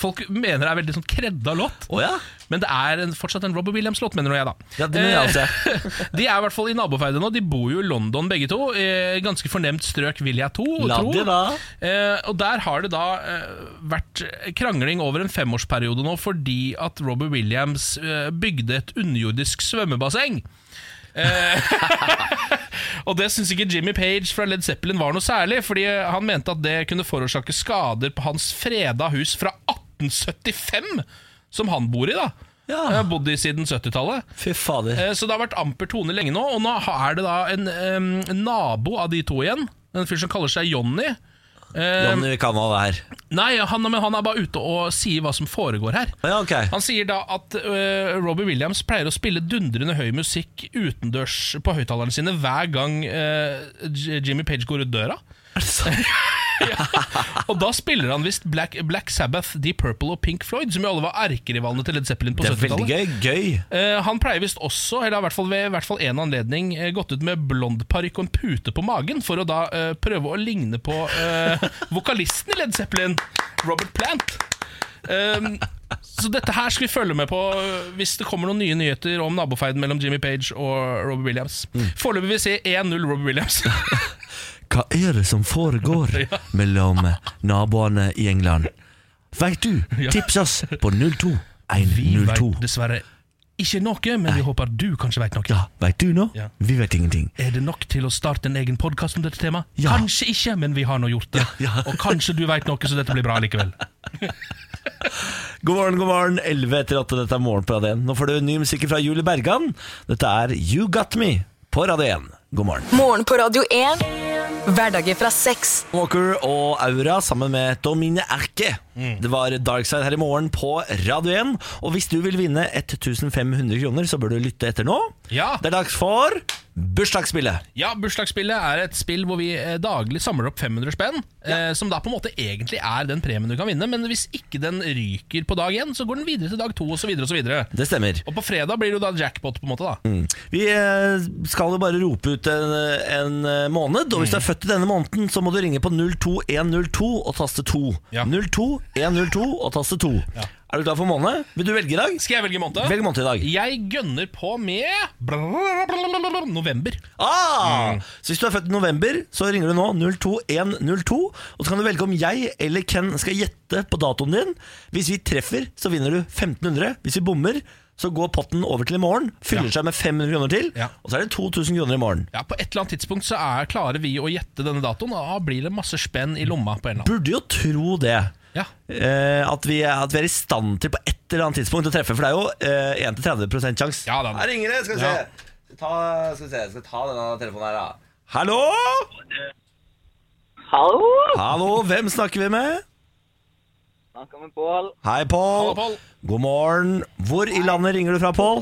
[SPEAKER 5] folk mener er veldig sånn kredda låt.
[SPEAKER 2] Å ja?
[SPEAKER 5] Men det er en, fortsatt en Robbie Williams-låt, mener nå jeg, da.
[SPEAKER 2] Ja, det mener jeg også.
[SPEAKER 5] Eh, de er i hvert fall i nabofeide nå. De bor jo i London begge to. Eh, ganske fornemt strøk, vil jeg to,
[SPEAKER 2] La
[SPEAKER 5] tro.
[SPEAKER 2] de da.
[SPEAKER 5] Eh, og der har det da eh, vært krangling over en femårsperiode nå fordi at Robbie Williams eh, bygde et underjordisk svømmebasseng. Eh, Og det syns ikke Jimmy Page fra Led Zeppelin var noe særlig, fordi han mente at det kunne forårsake skader på hans freda hus fra 1875, som han bor i, da.
[SPEAKER 2] Ja.
[SPEAKER 5] Han har bodd i siden 70-tallet.
[SPEAKER 2] Fy fader.
[SPEAKER 5] Eh, Så det har vært amper tone lenge nå, og nå er det da en em, en nabo av de to igjen. En fyr som kaller seg Johnny.
[SPEAKER 2] Johnny, vi kan ha det her.
[SPEAKER 5] Nei, han, men han er bare ute og sier hva som foregår her.
[SPEAKER 2] Ja, ok.
[SPEAKER 5] Han sier da at øh, Robbie Williams pleier å spille dundrende høy musikk utendørs på høyttalerne sine hver gang øh, J- Jimmy Page går ut døra. ja. Og da spiller han visst Black, Black Sabbath, Deep Purple og Pink Floyd, som jo alle var erkerivalene til Led Zeppelin på
[SPEAKER 2] Det er veldig
[SPEAKER 5] 70-tallet.
[SPEAKER 2] gøy. Gøy.
[SPEAKER 5] Eh, han pleier visst også, eller har i hvert fall ved i hvert fall én anledning, eh, gått ut med blond parykk og en pute på magen for å da eh, prøve å ligne på eh, vokalisten i Led Zeppelin, Robert Plant. Um, så dette her skal vi følge med på uh, hvis det kommer noen nye nyheter om nabofeiden mellom Jimmy Page og Robbie Williams. Foreløpig vil vi se 1-0 Robbie Williams.
[SPEAKER 2] Hva er det som foregår mellom naboene i England? Veit du? Tips oss på 02102.
[SPEAKER 5] Vet dessverre ikke noe, men vi håper du kanskje veit noe.
[SPEAKER 2] Ja, veit Ah, du nå?
[SPEAKER 5] Ja.
[SPEAKER 2] Vi vet ingenting.
[SPEAKER 5] Er det nok til å starte en egen podkast om dette temaet?
[SPEAKER 2] Ja.
[SPEAKER 5] Kanskje ikke, men vi har nå gjort det.
[SPEAKER 2] Ja, ja.
[SPEAKER 5] Og kanskje du veit noe, så dette blir bra likevel.
[SPEAKER 2] God morgen, god morgen. 11 etter 8, dette er Morgen på Radio 1. Nå får du ny musikk fra Julie Bergan. Dette er You Got Me på Radio 1. God morgen.
[SPEAKER 1] Morgen på Radio 1. Hverdager fra seks.
[SPEAKER 2] Walker og Aura sammen med Domine Erke
[SPEAKER 5] Mm.
[SPEAKER 2] Det var Darkside her i morgen på Radio 1. Og hvis du vil vinne 1500 kroner, så bør du lytte etter nå.
[SPEAKER 5] Ja.
[SPEAKER 2] Det er dags for bursdagsspillet.
[SPEAKER 5] Ja, Bursdagsspillet er et spill hvor vi eh, daglig samler opp 500 spenn. Eh, som da på en måte egentlig er den premien du kan vinne, men hvis ikke den ryker på dag én, så går den videre til dag to osv. Og, så videre.
[SPEAKER 2] Det stemmer.
[SPEAKER 5] og på fredag blir det jo da jackpot, på en måte. da
[SPEAKER 2] Mm. Vi eh, skal jo bare rope ut en, en eh, måned,
[SPEAKER 5] Mm.
[SPEAKER 2] og hvis du er født i denne måneden, så må du ringe på 02102 og taste 2.
[SPEAKER 5] Ja.
[SPEAKER 2] 02102 og taste 2. Er du klar for måned? Vil du velge i dag?
[SPEAKER 5] Skal jeg velge måned?
[SPEAKER 2] Velg måned i dag.
[SPEAKER 5] Jeg gønner på med november.
[SPEAKER 2] Ah! Så hvis du er født i november, så ringer du nå 02102, og så kan du velge om jeg eller Ken skal gjette på datoen din. Hvis vi treffer, så vinner du 1500. Hvis vi bommer, så går potten over til i morgen, fyller seg med 500 kroner til,
[SPEAKER 5] Ja.
[SPEAKER 2] og så er det 2000 kroner i morgen.
[SPEAKER 5] Ja, På et eller annet tidspunkt så er, klarer vi å gjette denne datoen, og da blir det masse spenn i lomma. på en eller annen
[SPEAKER 2] Burde jo tro det.
[SPEAKER 5] Ja,
[SPEAKER 2] Eh, at, vi, at vi er i stand til på et eller annet tidspunkt å treffe, for det er jo eh, 1-30 sjanse.
[SPEAKER 5] Ja, da.
[SPEAKER 2] Her ringer det, skal vi se. Skal, ta, skal vi se. Skal ta denne telefonen her, da. Hallo?
[SPEAKER 9] Hallo!
[SPEAKER 2] Hallo, hvem snakker vi med?
[SPEAKER 9] Snakka med Pål.
[SPEAKER 2] Hei, Pål.
[SPEAKER 5] Hallo, Pål.
[SPEAKER 2] God morgen. Hvor i landet ringer du fra, Pål?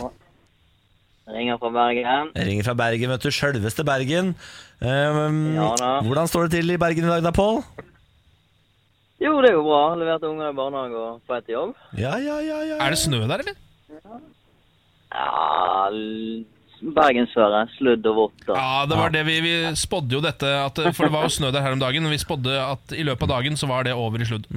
[SPEAKER 9] Ringer fra Bergen.
[SPEAKER 2] Jeg ringer fra Bergen, vet du. Sjølveste Bergen. Um,
[SPEAKER 9] Ja, da.
[SPEAKER 2] hvordan står det til i Bergen i dag da, Pål?
[SPEAKER 9] Jo, det er jo bra. Leverte unger i barnehage og på etter jobb.
[SPEAKER 2] Ja, ja, ja, ja.
[SPEAKER 5] Er det snø der, eller?
[SPEAKER 9] Ja l- Bergensføre. Sludd og vått. og-
[SPEAKER 5] Ja, det var det vi, vi spådde jo dette, at, for det var jo snø der her om dagen. og Vi spådde at i løpet av dagen så var det over i sludd.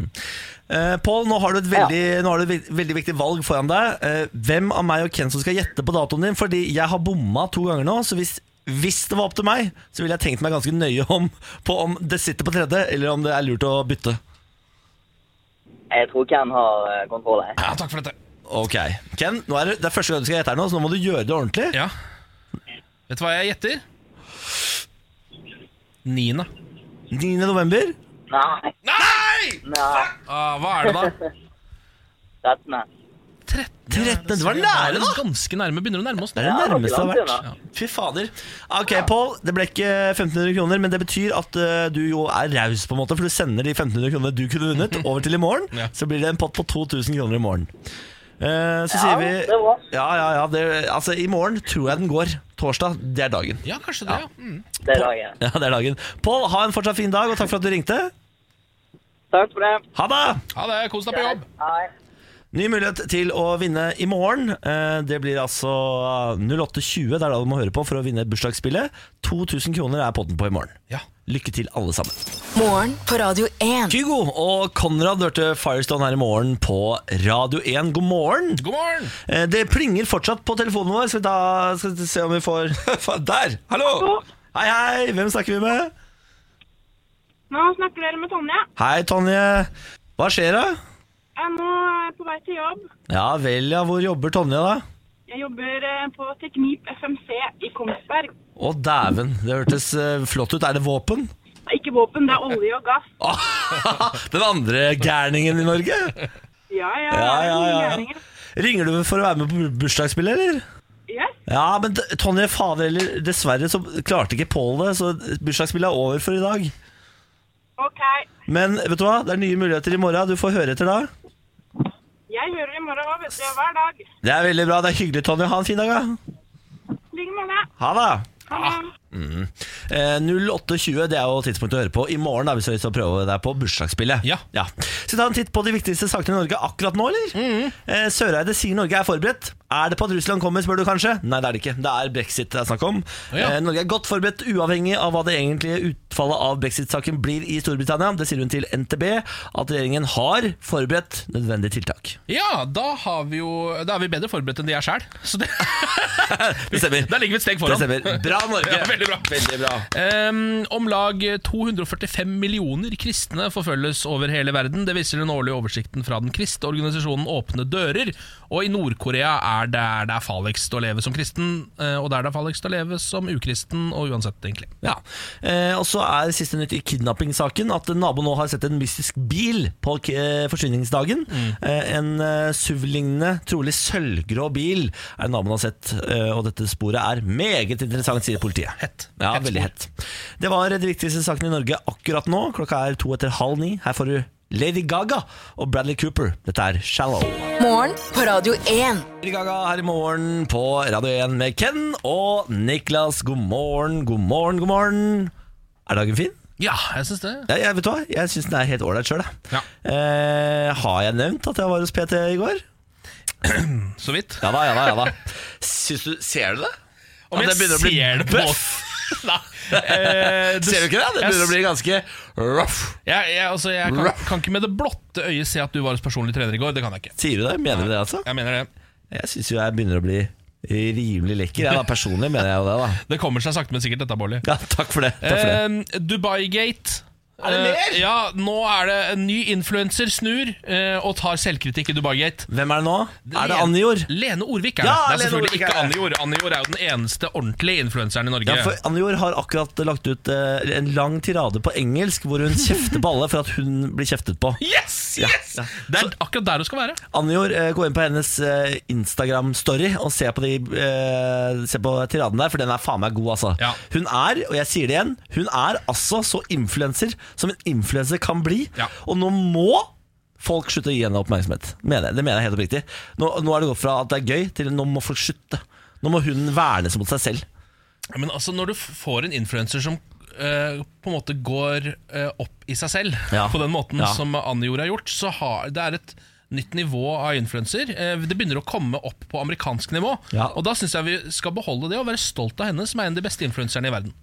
[SPEAKER 2] Eh, Pål, nå har du et veldig, nå har du et ve- veldig viktig valg foran deg. Eh, hvem av meg og Ken som skal gjette på datoen din? Fordi jeg har bomma to ganger nå, så hvis, hvis det var opp til meg, så ville jeg tenkt meg ganske nøye om på om det sitter på tredje, eller om det er lurt å bytte.
[SPEAKER 9] Jeg tror Ken har eh, kontroll her.
[SPEAKER 5] Ja, takk for dette.
[SPEAKER 2] Ok, Ken, nå er det, det er første gang du skal gjette her nå, så nå må du gjøre det ordentlig.
[SPEAKER 5] Ja. Vet du hva jeg gjetter? Niende.
[SPEAKER 2] 9. november.
[SPEAKER 9] Nei!
[SPEAKER 5] Nei!
[SPEAKER 9] Nei.
[SPEAKER 5] Ah, hva er det da?
[SPEAKER 9] Rettene.
[SPEAKER 5] 13.
[SPEAKER 2] 13. Det var nære, da!
[SPEAKER 5] Ganske nærme. Begynner å nærme oss
[SPEAKER 2] Det
[SPEAKER 5] nå.
[SPEAKER 2] er det nærmeste det har
[SPEAKER 9] langt
[SPEAKER 2] vært. Fy fader. Ok, Pål, det ble ikke 1500 kroner, men det betyr at eh, du jo er raus, på en måte, for du sender de 1500 kronene du kunne vunnet, over til i morgen.
[SPEAKER 5] Ja.
[SPEAKER 2] Så blir det en pott på 2000 kroner i morgen. Eh, så sier vi
[SPEAKER 9] det er bra.
[SPEAKER 2] Ja, ja, ja. Det, altså, i morgen tror jeg den går. Torsdag, det er dagen.
[SPEAKER 5] Ja, kanskje det, ja. Mm.
[SPEAKER 9] Det er dagen.
[SPEAKER 2] Ja, det er dagen. Pål, ha en fortsatt fin dag, og takk for at du ringte.
[SPEAKER 9] Takk for det.
[SPEAKER 2] Ha det!
[SPEAKER 5] Ha det. Kos deg på jobb.
[SPEAKER 9] Hei.
[SPEAKER 2] Ny mulighet til å vinne i morgen. Eh, Det blir altså 08.20, det er da du må høre på for å vinne bursdagsspillet. 2000 kroner er potten på i morgen.
[SPEAKER 5] Ja.
[SPEAKER 2] Lykke til, alle sammen.
[SPEAKER 1] Morgen på Radio 1.
[SPEAKER 2] Kygo og Konrad hørte Firestone her i morgen på Radio 1. God morgen!
[SPEAKER 5] God morgen!
[SPEAKER 2] Eh, Det plinger fortsatt på telefonen vår. Skal vi, ta, skal vi se om vi får Der! Hallo! Hei, hei! Hvem snakker vi med?
[SPEAKER 10] Nå snakker dere med Tonje.
[SPEAKER 2] Hei, Tonje. Hva skjer, da?
[SPEAKER 10] Jeg er nå eh, på vei til jobb.
[SPEAKER 2] Ja vel, ja. Hvor jobber Tonje, da?
[SPEAKER 10] Jeg jobber eh, på Teknip FMC i Kongsberg.
[SPEAKER 2] Å, dæven. Det hørtes eh, flott ut. Er det våpen?
[SPEAKER 10] Det er ikke våpen, det er olje og gass.
[SPEAKER 2] Den andre gærningen i Norge?
[SPEAKER 10] Ja, ja,
[SPEAKER 2] Ja,
[SPEAKER 10] det er
[SPEAKER 2] ja,
[SPEAKER 10] mye
[SPEAKER 2] ja, ja.
[SPEAKER 10] gjerninger.
[SPEAKER 2] Ringer du for å være med på bursdagsspillet, eller?
[SPEAKER 10] Yes.
[SPEAKER 2] Ja, men t- Tonje, fader eller dessverre så klarte ikke Pål det, så bursdagsspillet er over for i dag.
[SPEAKER 10] Ok,
[SPEAKER 2] Men vet du hva, det er nye muligheter i morgen. Du får høre etter da.
[SPEAKER 10] jeg hører i morgen hva vet du, hver dag.
[SPEAKER 2] Det er veldig bra. Det er hyggelig, Tonje. Ha en fin dag, da.
[SPEAKER 10] Ligg med det.
[SPEAKER 2] Ha det.
[SPEAKER 10] Ha det.
[SPEAKER 2] Ah. Eh, 08.20 det er jo tidspunktet å høre på. I morgen da, hvis du har lyst til å prøve deg på bursdagsspillet.
[SPEAKER 5] Ja.
[SPEAKER 2] Skal vi ta en titt på de viktigste sakene i Norge akkurat nå, eller?
[SPEAKER 5] Mm.
[SPEAKER 2] eh, Søreide sier Norge er forberedt. Er det på at Russland kommer, spør du kanskje? Nei, det er det ikke. Det er brexit det er snakk om.
[SPEAKER 5] ja.
[SPEAKER 2] eh, Norge er godt forberedt, uavhengig av hva det egentlige utfallet av brexit-saken blir i Storbritannia. Det sier hun til NTB, at regjeringen har forberedt nødvendige tiltak.
[SPEAKER 5] Ja, da, har vi jo, da er vi bedre forberedt enn de er sjæl. Så det,
[SPEAKER 2] Det stemmer.
[SPEAKER 5] der ligger vi et steg
[SPEAKER 2] Det
[SPEAKER 5] foran.
[SPEAKER 2] stemmer. Bra, Norge.
[SPEAKER 5] Ja, veldig bra.
[SPEAKER 2] Veldig bra.
[SPEAKER 5] Ehm, om lag 245 millioner kristne forfølges over hele verden. Det viser den årlige oversikten fra den kristne organisasjonen Åpne dører. Og i Nord-Korea er der det er farligst å leve som kristen, eh, og der det er farligst å leve som ukristen, og uansett, egentlig.
[SPEAKER 2] Ja, eh, og så er siste nytt i kidnappingssaken at naboen nå har sett en mystisk bil på k- eh, forsvinningsdagen.
[SPEAKER 5] Mm.
[SPEAKER 2] Eh, en eh, SUV-lignende, trolig sølvgrå bil er det naboen har sett, eh, og dette sporet er meget interessant, sier politiet.
[SPEAKER 5] Hett.
[SPEAKER 2] Ja,
[SPEAKER 5] Hett spor.
[SPEAKER 2] veldig hett. Det var de viktigste sakene i Norge akkurat nå. Klokka er to etter halv ni. Her får du Lady Gaga og Bradley Cooper. Dette er Shallow.
[SPEAKER 1] Morgen på Radio 1.
[SPEAKER 2] Lady Gaga her i morgen på Radio 1 med Ken og Niklas. God morgen, god morgen, god morgen. Er dagen fin?
[SPEAKER 5] Ja, jeg syns det.
[SPEAKER 2] Ja, jeg vet du hva, jeg syns den er helt ålreit sjøl. jeg. Eh, har jeg nevnt at jeg var hos PT i går?
[SPEAKER 5] Så vidt.
[SPEAKER 2] Ja da, ja da. ja da Syns du, Ser du det?
[SPEAKER 5] Om
[SPEAKER 2] At
[SPEAKER 5] jeg ser det på-
[SPEAKER 2] Nei.
[SPEAKER 5] Eh, du-
[SPEAKER 2] ser du ikke det? Det
[SPEAKER 5] jeg
[SPEAKER 2] begynner å
[SPEAKER 5] s-
[SPEAKER 2] bli ganske rough.
[SPEAKER 5] Jeg, jeg, altså, jeg kan, kan ikke med det blotte øyet se at du var hos personlig trener i går. Det kan jeg ikke.
[SPEAKER 2] Sier du det? Mener du det, altså?
[SPEAKER 5] Jeg mener det.
[SPEAKER 2] Jeg syns jo jeg begynner å bli rimelig lekker. Jeg da, personlig mener jeg jo det, da.
[SPEAKER 5] Det kommer seg sakte, men sikkert, dette, Bårdli.
[SPEAKER 2] Ja, takk for det. Takk for det.
[SPEAKER 5] Eh, Dubai-gate.
[SPEAKER 2] Er det mer?
[SPEAKER 5] Eh, ja, nå er det en ny influenser snur eh, og tar selvkritikk i Dubai-gate.
[SPEAKER 2] Hvem er det nå? Er det Anjor?
[SPEAKER 5] Lene Orvik er
[SPEAKER 2] Ja,
[SPEAKER 5] det. det er
[SPEAKER 2] Lene
[SPEAKER 5] selvfølgelig
[SPEAKER 2] Orvik
[SPEAKER 5] ikke
[SPEAKER 2] er det.
[SPEAKER 5] Anjor. Anjor er jo den eneste ordentlige influenseren i Norge.
[SPEAKER 2] Ja, for Anjor har akkurat lagt ut eh, en lang tirade på engelsk hvor hun kjefter på alle for at hun blir kjeftet på.
[SPEAKER 5] Yes! yes!
[SPEAKER 2] Ja, ja.
[SPEAKER 5] Det er akkurat der du skal være.
[SPEAKER 2] Anjor, eh, gå inn på hennes eh, Instagram-story og se på, de, eh, se på tiraden der, for den er faen meg god, altså.
[SPEAKER 5] Ja.
[SPEAKER 2] Hun er, og jeg sier det igjen, hun er altså så influenser som en influenser kan bli.
[SPEAKER 5] Ja.
[SPEAKER 2] Og nå må folk slutte å gi henne oppmerksomhet. Mener jeg. Det mener jeg helt oppriktig. Nå, nå er det gått fra at det er gøy, til nå må folk slutte. Nå må hun vernes mot seg selv.
[SPEAKER 5] Men altså, når du f- får en influenser som eh, på en måte går eh, opp i seg selv,
[SPEAKER 2] Ja.
[SPEAKER 5] på den måten
[SPEAKER 2] Ja.
[SPEAKER 5] som Anjor har gjort, så har, det er et nytt nivå av influenser. Eh, det begynner å komme opp på amerikansk nivå.
[SPEAKER 2] Ja.
[SPEAKER 5] Og da syns jeg vi skal beholde det og være stolt av henne, som er en av de beste influenserne i verden.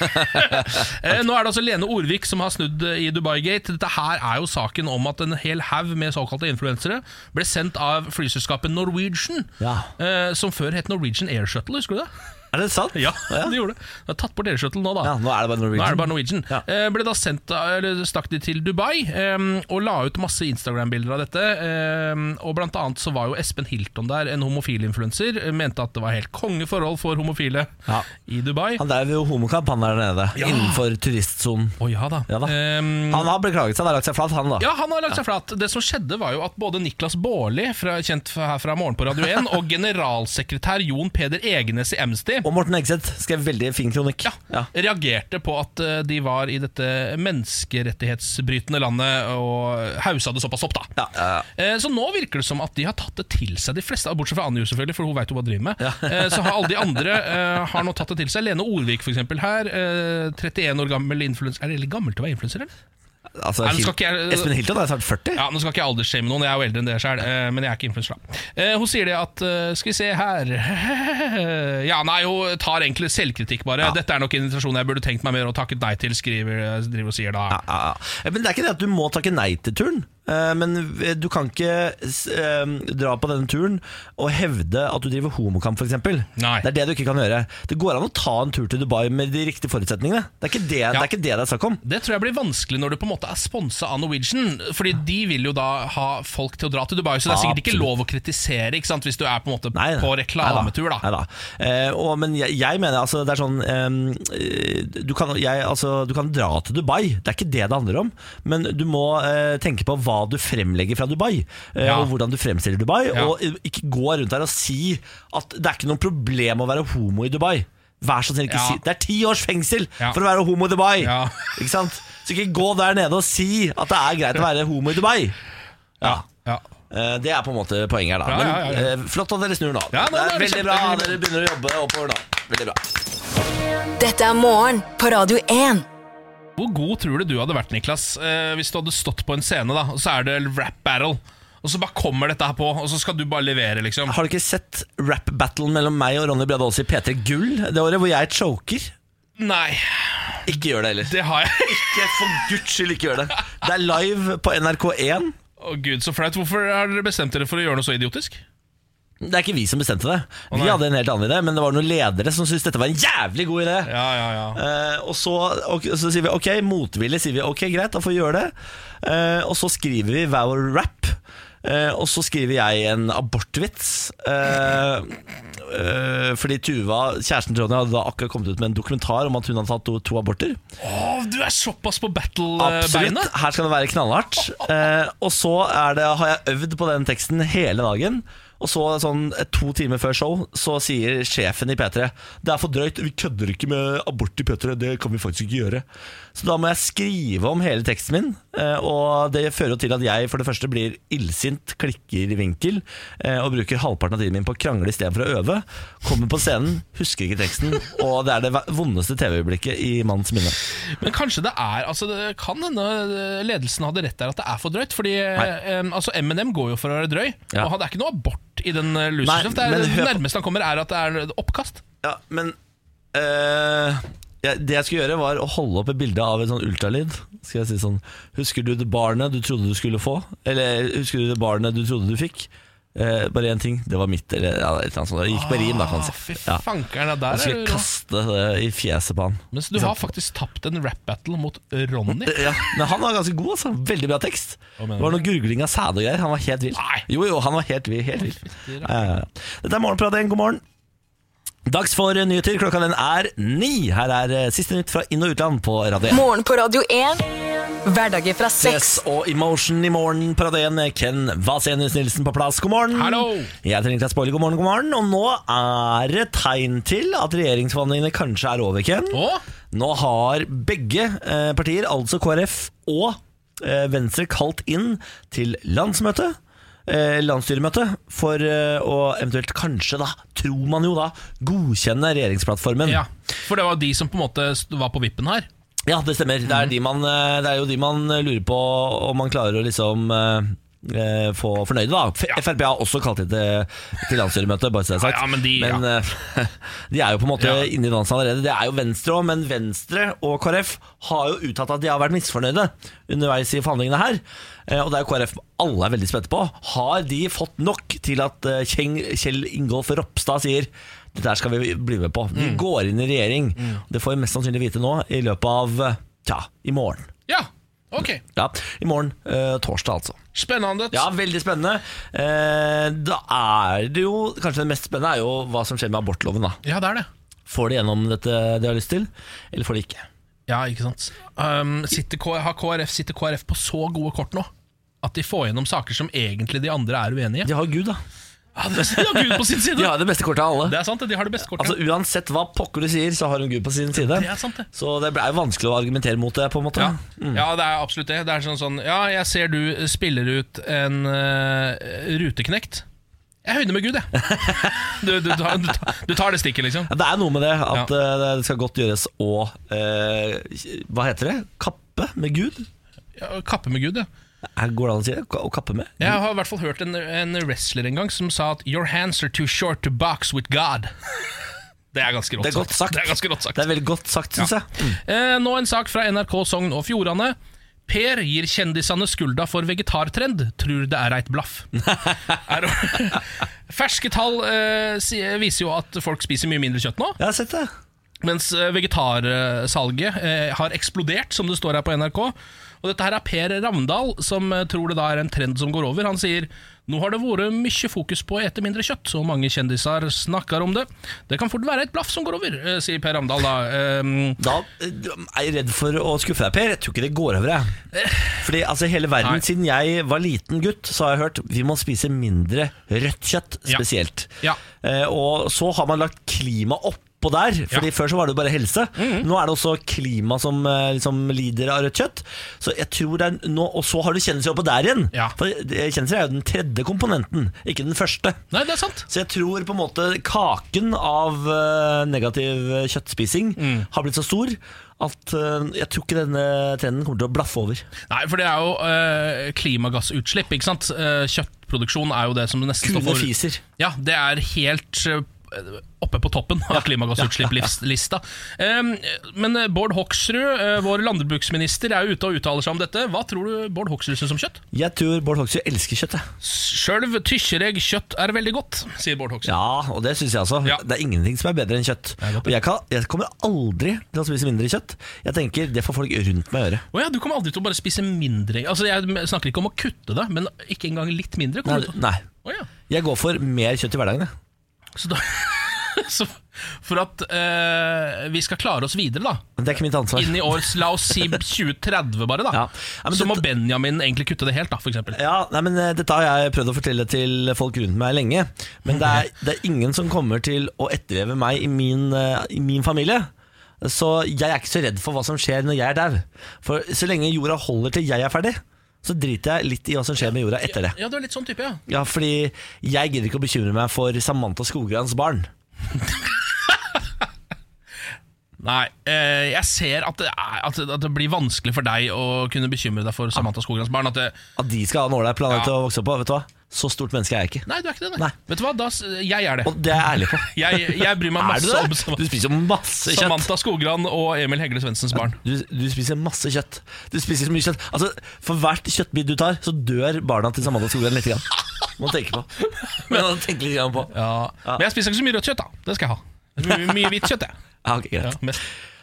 [SPEAKER 5] Eh, Nå er det altså Lene Orvik som har snudd eh, i Dubai-gate. Dette her er jo saken om at en hel haug med såkalte influensere ble sendt av flyselskapet Norwegian,
[SPEAKER 2] Ja.
[SPEAKER 5] eh, som før het Norwegian Air Shuttle, husker du det?
[SPEAKER 2] Er det sant?
[SPEAKER 5] Ja, det gjorde det. Det er tatt bort delskjøttel nå, da.
[SPEAKER 2] Ja, nå er det bare
[SPEAKER 5] Nå
[SPEAKER 2] Norwegian.
[SPEAKER 5] er det bare Norwegian.
[SPEAKER 2] Ja.
[SPEAKER 5] Eh, ble da sendt, eller stakk de til Dubai eh, og la ut masse Instagram-bilder av dette. Eh, og Blant annet så var jo Espen Hilton der, en homofil influenser. eh, Mente at det var helt kongeforhold for homofile
[SPEAKER 2] Ja.
[SPEAKER 5] i Dubai.
[SPEAKER 2] Han drev jo homokamp, han der nede. Innenfor turistsonen.
[SPEAKER 5] Å ja da.
[SPEAKER 2] Ja da.
[SPEAKER 5] Eh,
[SPEAKER 2] Han har beklaget seg, han har lagt seg flat, han da.
[SPEAKER 5] ja, han har lagt seg flat. Det som skjedde var jo at både Niklas Baarli, fra- kjent fra- her fra Morgen på Radio 1, og generalsekretær Jon Peder Egenes i Amnesty
[SPEAKER 2] Og Morten Hegseth skrev veldig fin kronikk.
[SPEAKER 5] ja, reagerte på at eh, de var i dette menneskerettighetsbrytende landet og hausa det såpass opp, da.
[SPEAKER 2] Ja, ja,
[SPEAKER 5] Eh, Så nå virker det som at de har tatt det til seg, de fleste, bortsett fra Anjor, selvfølgelig, for hun veit jo hva hun driver med. Eh, Så har alle de andre eh, har nå tatt det til seg. Lene Orvik, for eksempel, her. eh, 31 år gammel influenser. Er det litt gammelt å være influenser, eller?
[SPEAKER 2] Altså,
[SPEAKER 5] Nei, nå
[SPEAKER 2] Hil-
[SPEAKER 5] skal ikke jeg-
[SPEAKER 2] Espen Hilton er snart 40.
[SPEAKER 5] Ja, Nå skal ikke jeg aldersshame noen, jeg er jo eldre enn det sjøl, men jeg er ikke influenser. da. Eh, Hun sier det at eh, Skal vi se her Ja, nei, hun tar egentlig selvkritikk, bare. Dette er nok en invitasjon jeg burde tenkt meg mer og takket nei til, skriver eh, driver og sier da.
[SPEAKER 2] Ja, ja, ja. Men det er ikke det at du må takke nei til turen. Eh, Men du kan ikke s- eh, dra på denne turen og hevde at du driver homokamp, f.eks.
[SPEAKER 5] Nei.
[SPEAKER 2] Det er det du ikke kan gjøre. Det går an å ta en tur til Dubai med de riktige forutsetningene. Det er ikke det det er, ikke det, det er snakk om.
[SPEAKER 5] Det tror jeg blir vanskelig når du på en måte er sponsa av Norwegian. Fordi de vil jo da ha folk til å dra til Dubai, så det er sikkert ikke
[SPEAKER 2] Absolutt.
[SPEAKER 5] lov å kritisere ikke sant, hvis du er på en måte
[SPEAKER 2] Nei,
[SPEAKER 5] på reklametur. da
[SPEAKER 2] Nei da. Eh, og, men jeg, jeg mener altså det er sånn eh, du, kan, jeg, altså, du kan dra til Dubai, det er ikke det det handler om. Men du må eh, tenke på hva du fremlegger fra Dubai, eh,
[SPEAKER 5] Ja.
[SPEAKER 2] og hvordan du fremstiller Dubai.
[SPEAKER 5] Ja.
[SPEAKER 2] Og eh, ikke gå rundt her og si at det er ikke noe problem å være homo i Dubai. Vær så snill, ikke
[SPEAKER 5] Ja.
[SPEAKER 2] si Det er ti års fengsel
[SPEAKER 5] Ja.
[SPEAKER 2] for å være homo i Dubai!
[SPEAKER 5] Ja.
[SPEAKER 2] Ikke sant? Så ikke gå der nede og si at det er greit å være homo i Dubai. Ja.
[SPEAKER 5] Ja.
[SPEAKER 2] Eh, Det er på en måte poenget her, da.
[SPEAKER 5] Ja,
[SPEAKER 2] Men,
[SPEAKER 5] ja, ja, ja.
[SPEAKER 2] eh, flott at dere snur nå.
[SPEAKER 5] Ja, nå
[SPEAKER 2] det
[SPEAKER 5] er
[SPEAKER 2] er
[SPEAKER 5] det
[SPEAKER 2] veldig bra.
[SPEAKER 5] kjempe-
[SPEAKER 2] Dere begynner å jobbe oppover nå. Veldig bra.
[SPEAKER 1] Dette er morgen på Radio 1.
[SPEAKER 5] Hvor god tror du du hadde vært, Niklas, eh, hvis du hadde stått på en scene, da og så er det rap battle, og så bare kommer dette her på, og så skal du bare levere, liksom?
[SPEAKER 2] Har du ikke sett rap-battlen mellom meg og Ronny Brede Aase i P3 Gull det året, hvor jeg choker?
[SPEAKER 5] Nei,
[SPEAKER 2] Ikke gjør det heller.
[SPEAKER 5] det har jeg
[SPEAKER 2] Ikke for guds skyld, ikke gjør det. Det er live på NRK1.
[SPEAKER 5] Å gud, så flaut. Hvorfor har dere bestemt dere for å gjøre noe så idiotisk?
[SPEAKER 2] Det er ikke vi som bestemte det. Vi
[SPEAKER 5] nei.
[SPEAKER 2] hadde en helt annen idé, men det var noen ledere som syntes dette var en jævlig god idé.
[SPEAKER 5] Ja, ja, ja
[SPEAKER 2] Eh, og så, og, så sier vi ok, motvillig sier vi ok, greit, da får vi gjøre det. Eh, og så skriver vi hver vår rap. Eh, og så skriver jeg en abortvits. Eh, eh, fordi Tuva, kjæresten til Ronny, hadde da akkurat kommet ut med en dokumentar om at hun hadde tatt to, to aborter.
[SPEAKER 5] Å, du er såpass på battle-beinet!
[SPEAKER 2] Absolutt, Her skal det være knallhardt. Eh, og så er det, har jeg øvd på den teksten hele dagen. Og så sånn eh, to timer før show Så sier sjefen i P3 Det er for drøyt, vi kødder ikke med abort i P3 Det kan vi faktisk ikke gjøre Så da må jeg skrive om hele teksten min Eh, Og det fører jo til at jeg for det første blir illsint, klikker i vinkel eh, og bruker halvparten av tiden min på å krangle istedenfor å øve. Kommer på scenen, husker ikke teksten, og det er det vondeste TV-øyeblikket i mannens minne.
[SPEAKER 5] Men kanskje det er altså Det kan hende eh, ledelsen hadde rett der at det er for drøyt. Fordi eh, em, altså M&M går jo for å være drøy,
[SPEAKER 2] Ja.
[SPEAKER 5] og han- det er ikke noe abort i den eh,
[SPEAKER 2] Nei,
[SPEAKER 5] Losersoft. Det, er-
[SPEAKER 2] men
[SPEAKER 5] det
[SPEAKER 2] hør på-
[SPEAKER 5] nærmeste han kommer, er at det er oppkast.
[SPEAKER 2] Ja, men eh, ja, Det jeg skulle gjøre, var å holde opp et bilde av en sånn ultralyd. Skal jeg si sånn Husker du det barnet du trodde du skulle få? Eller husker du det barnet du trodde du fikk? Eh, bare én ting. Det var mitt. Eller ja, et eller annet sånt. Jeg gikk på rim, da, kan man si.
[SPEAKER 5] Ah, fy
[SPEAKER 2] Ja.
[SPEAKER 5] fankeren, ja,
[SPEAKER 2] Og så
[SPEAKER 5] der
[SPEAKER 2] skal
[SPEAKER 5] er
[SPEAKER 2] jeg
[SPEAKER 5] du
[SPEAKER 2] kaste det i fjeset på han.
[SPEAKER 5] Mens du har faktisk tapt en rap-battle mot Ronny.
[SPEAKER 2] Ja, men han var ganske god, altså. Veldig bra tekst.
[SPEAKER 5] Hva
[SPEAKER 2] Det
[SPEAKER 5] mener
[SPEAKER 2] var
[SPEAKER 5] du?
[SPEAKER 2] noe gurgling av sæd og greier. Han var helt vill. Jo, jo, han var helt vill. Helt vill. Ja, ja, ja. Dette er Morgenpraten. God morgen. Dags for eh, nyheter. Klokka den er ni. Her er eh, siste nytt fra inn- og utland på Radio 1.
[SPEAKER 1] Morgen på Radio 1. Hverdager fra seks.
[SPEAKER 2] Yes, og Emotion i morgen, paradien. Ken Vasenius Nilsen på plass, god morgen.
[SPEAKER 5] Hallo!
[SPEAKER 2] Jeg heter Niklas Baarli, god morgen, god morgen. Og nå er det tegn til at regjeringsforhandlingene kanskje er over, Ken.
[SPEAKER 5] Å?
[SPEAKER 2] Nå har begge eh, partier, altså KrF og eh, Venstre, kalt inn til landsmøte. Eh, landsstyremøte for eh, å eventuelt kanskje, da, tror man jo da, godkjenne regjeringsplattformen.
[SPEAKER 5] Ja, For det var de som på en måte st- var på vippen her.
[SPEAKER 2] Ja, det stemmer. Det,
[SPEAKER 5] Mhm.
[SPEAKER 2] er de man, eh, det er jo de man lurer på om man klarer å liksom eh, eh, få fornøyde, da. F Frp har også kalt inn til, til landsstyremøte, bare så det er sagt.
[SPEAKER 5] Ja, ja, men de-
[SPEAKER 2] eh, de er jo på en måte
[SPEAKER 5] Ja.
[SPEAKER 2] inne i dansen allerede. Det er jo Venstre òg, men Venstre og KrF har jo uttalt at de har vært misfornøyde underveis i forhandlingene her. Eh, Og det er jo KrF alle er veldig spente på. Har de fått nok til at eh, Kjeng- Kjell Ingolf Ropstad sier dette her skal vi bli med på. Vi går inn i regjering. Det får vi mest sannsynlig vite nå i løpet av eh, Tja, i morgen.
[SPEAKER 5] Ja, ok
[SPEAKER 2] Ja, I morgen, eh, torsdag altså.
[SPEAKER 5] Spennende.
[SPEAKER 2] Ja, veldig spennende. Eh, da er det jo Kanskje det mest spennende er jo hva som skjer med abortloven, da.
[SPEAKER 5] Ja, det er det.
[SPEAKER 2] Får de gjennom dette de har lyst til, eller får de ikke?
[SPEAKER 5] Ja, ikke sant. Um, sitter, K- har KrF, sitter KrF på så gode kort nå at de får gjennom saker som egentlig de andre er uenige i?
[SPEAKER 2] De har Gud, da.
[SPEAKER 5] Ja, det- de har Gud på sin side!
[SPEAKER 2] De har det beste kortet av alle.
[SPEAKER 5] Det er sant, det. de har det beste kortet.
[SPEAKER 2] Altså Uansett hva pokker du sier, så har hun Gud på sin side.
[SPEAKER 5] det er sant, det.
[SPEAKER 2] Så det er jo vanskelig å argumentere mot det, på en måte.
[SPEAKER 5] Ja. ja, det er absolutt det. Det er sånn sånn Ja, jeg ser du spiller ut en eh, ruteknekt. Jeg høyner med Gud, jeg. Du, du, tar, du, tar, du tar det stikket, liksom.
[SPEAKER 2] Ja, det er noe med det at eh, det skal godt gjøres å eh, Hva heter det? Kappe med Gud?
[SPEAKER 5] Ja, kappe med Gud, ja.
[SPEAKER 2] Er- Går det an å si det? Ka- Å kappe med?
[SPEAKER 5] Jeg har i hvert fall hørt en, en wrestler en gang som sa at 'Your hands are too short to box with God'. Det er ganske rått
[SPEAKER 2] Det er godt sagt.
[SPEAKER 5] Det er ganske rått sagt.
[SPEAKER 2] Det er veldig godt sagt, syns jeg. Mm.
[SPEAKER 5] Eh, nå en sak fra NRK Sogn og Fjordane. Per gir kjendisene skulda for vegetartrend, tror det er eit blaff. Er- Ferske tall eh, si- viser jo at folk spiser mye mindre kjøtt nå,
[SPEAKER 2] Jeg har sett det.
[SPEAKER 5] mens eh, vegetarsalget eh, har eksplodert, som det står her på NRK. Og dette her er Per Ravndal, som eh, tror det da er en trend som går over. Han sier nå har det vært mye fokus på å ete mindre kjøtt, og mange kjendiser snakker om det. Det kan fort være et blaff som går over, eh, sier Per Ravndal da. Eh,
[SPEAKER 2] Da eh, er jeg redd for å skuffe deg, Per. Jeg tror ikke det går over. Jeg. Fordi altså hele verden,
[SPEAKER 5] Nei.
[SPEAKER 2] Siden jeg var liten gutt, så har jeg hørt vi må spise mindre rødt kjøtt
[SPEAKER 5] Ja.
[SPEAKER 2] spesielt.
[SPEAKER 5] Ja.
[SPEAKER 2] Eh, og så har man lagt klima oppå der, Fordi
[SPEAKER 5] Ja. Mhm.
[SPEAKER 2] Før så var det jo bare helse. Nå er det også klima som eh, liksom, lider av rødt kjøtt. Så jeg tror det er nå, Og så har du kjendiser oppå der igjen.
[SPEAKER 5] Ja.
[SPEAKER 2] For eh, Kjendiser er jo den tredje komponenten, ikke den første.
[SPEAKER 5] nei, det er sant.
[SPEAKER 2] Så jeg tror på en måte kaken av eh, negativ eh, kjøttspising har blitt så stor at eh, jeg tror ikke denne trenden kommer til å blaffe over.
[SPEAKER 5] Nei, for det er jo øh, klimagassutslipp, ikke sant? Eh, kjøttproduksjon er jo det som nesten står
[SPEAKER 2] Kuene
[SPEAKER 5] for
[SPEAKER 2] fiser.
[SPEAKER 5] Ja, det er helt øh, oppe på toppen av klimagassutslipp-lista. men eh, Bård Hoksrud, eh, vår landbruksminister, er jo ute og uttaler seg om dette. Hva tror du Bård Hoksrud syns om kjøtt?
[SPEAKER 2] Jeg tror Bård Hoksrud elsker kjøtt. jeg.
[SPEAKER 5] Sjølv tykker jeg kjøtt er veldig godt, sier Bård Hoksrud.
[SPEAKER 2] Ja, og det syns jeg også.
[SPEAKER 5] Ja.
[SPEAKER 2] Det er ingenting som er bedre enn kjøtt.
[SPEAKER 5] er godt,
[SPEAKER 2] Og jeg, kan, jeg kommer aldri til å spise mindre kjøtt. Jeg tenker Det får folk rundt meg gjøre.
[SPEAKER 5] Å ja, du kommer aldri til å bare spise mindre Altså, Jeg snakker ikke om å kutte det, men ikke engang litt mindre.
[SPEAKER 2] Nei,
[SPEAKER 5] kommer du til å-
[SPEAKER 2] nei.
[SPEAKER 5] Å ja.
[SPEAKER 2] Jeg går for mer kjøtt i hverdagen. jeg.
[SPEAKER 5] Så da, så for at eh, vi skal klare oss videre, da.
[SPEAKER 2] Men det er ikke mitt ansvar.
[SPEAKER 5] Inn i år, la oss si 2030 bare, da.
[SPEAKER 2] Ja. Ja, men
[SPEAKER 5] så må
[SPEAKER 2] dette-
[SPEAKER 5] Benjamin egentlig kutte det helt, da, for eksempel.
[SPEAKER 2] Ja, nei, men eh, Dette har jeg prøvd å fortelle til folk rundt meg lenge. Men det er, det er ingen som kommer til å etterleve meg i min, eh, i min familie. Så jeg er ikke så redd for hva som skjer når jeg er dau. For så lenge jorda holder til jeg er ferdig, så driter jeg litt i hva som skjer med jorda etter det.
[SPEAKER 5] Ja, du er litt sånn type, ja.
[SPEAKER 2] Ja, fordi jeg gidder ikke å bekymre meg for Samantha Skograns barn.
[SPEAKER 5] Nei, eh, jeg ser at det, er, at, det- at det blir vanskelig for deg å kunne bekymre deg for Samantha Skograns barn. At det,
[SPEAKER 2] At de skal ha en ålreit planet å vokse opp på. Vet du hva? Så stort menneske er jeg ikke.
[SPEAKER 5] nei, du er ikke det. Nei. Vet du hva, da, s- jeg er det.
[SPEAKER 2] Og det er jeg ærlig på.
[SPEAKER 5] Jeg, jeg bryr meg
[SPEAKER 2] Er
[SPEAKER 5] masse
[SPEAKER 2] du det?
[SPEAKER 5] om Sam-
[SPEAKER 2] Du spiser masse kjøtt.
[SPEAKER 5] Samantha Skogran og Emil Hegle Svendsens barn.
[SPEAKER 2] Du, du spiser masse kjøtt. Du spiser så mye kjøtt Altså, For hvert kjøttbit du tar, så dør barna til Samantha Skogran litt. Grann. Må tenke på. Men han tenker litt grann på.
[SPEAKER 5] Ja. Men jeg spiser ikke så mye rødt kjøtt, da. Det skal jeg ha. Mye, mye hvitt kjøtt, jeg.
[SPEAKER 2] Ja, ok, greit.
[SPEAKER 5] mest.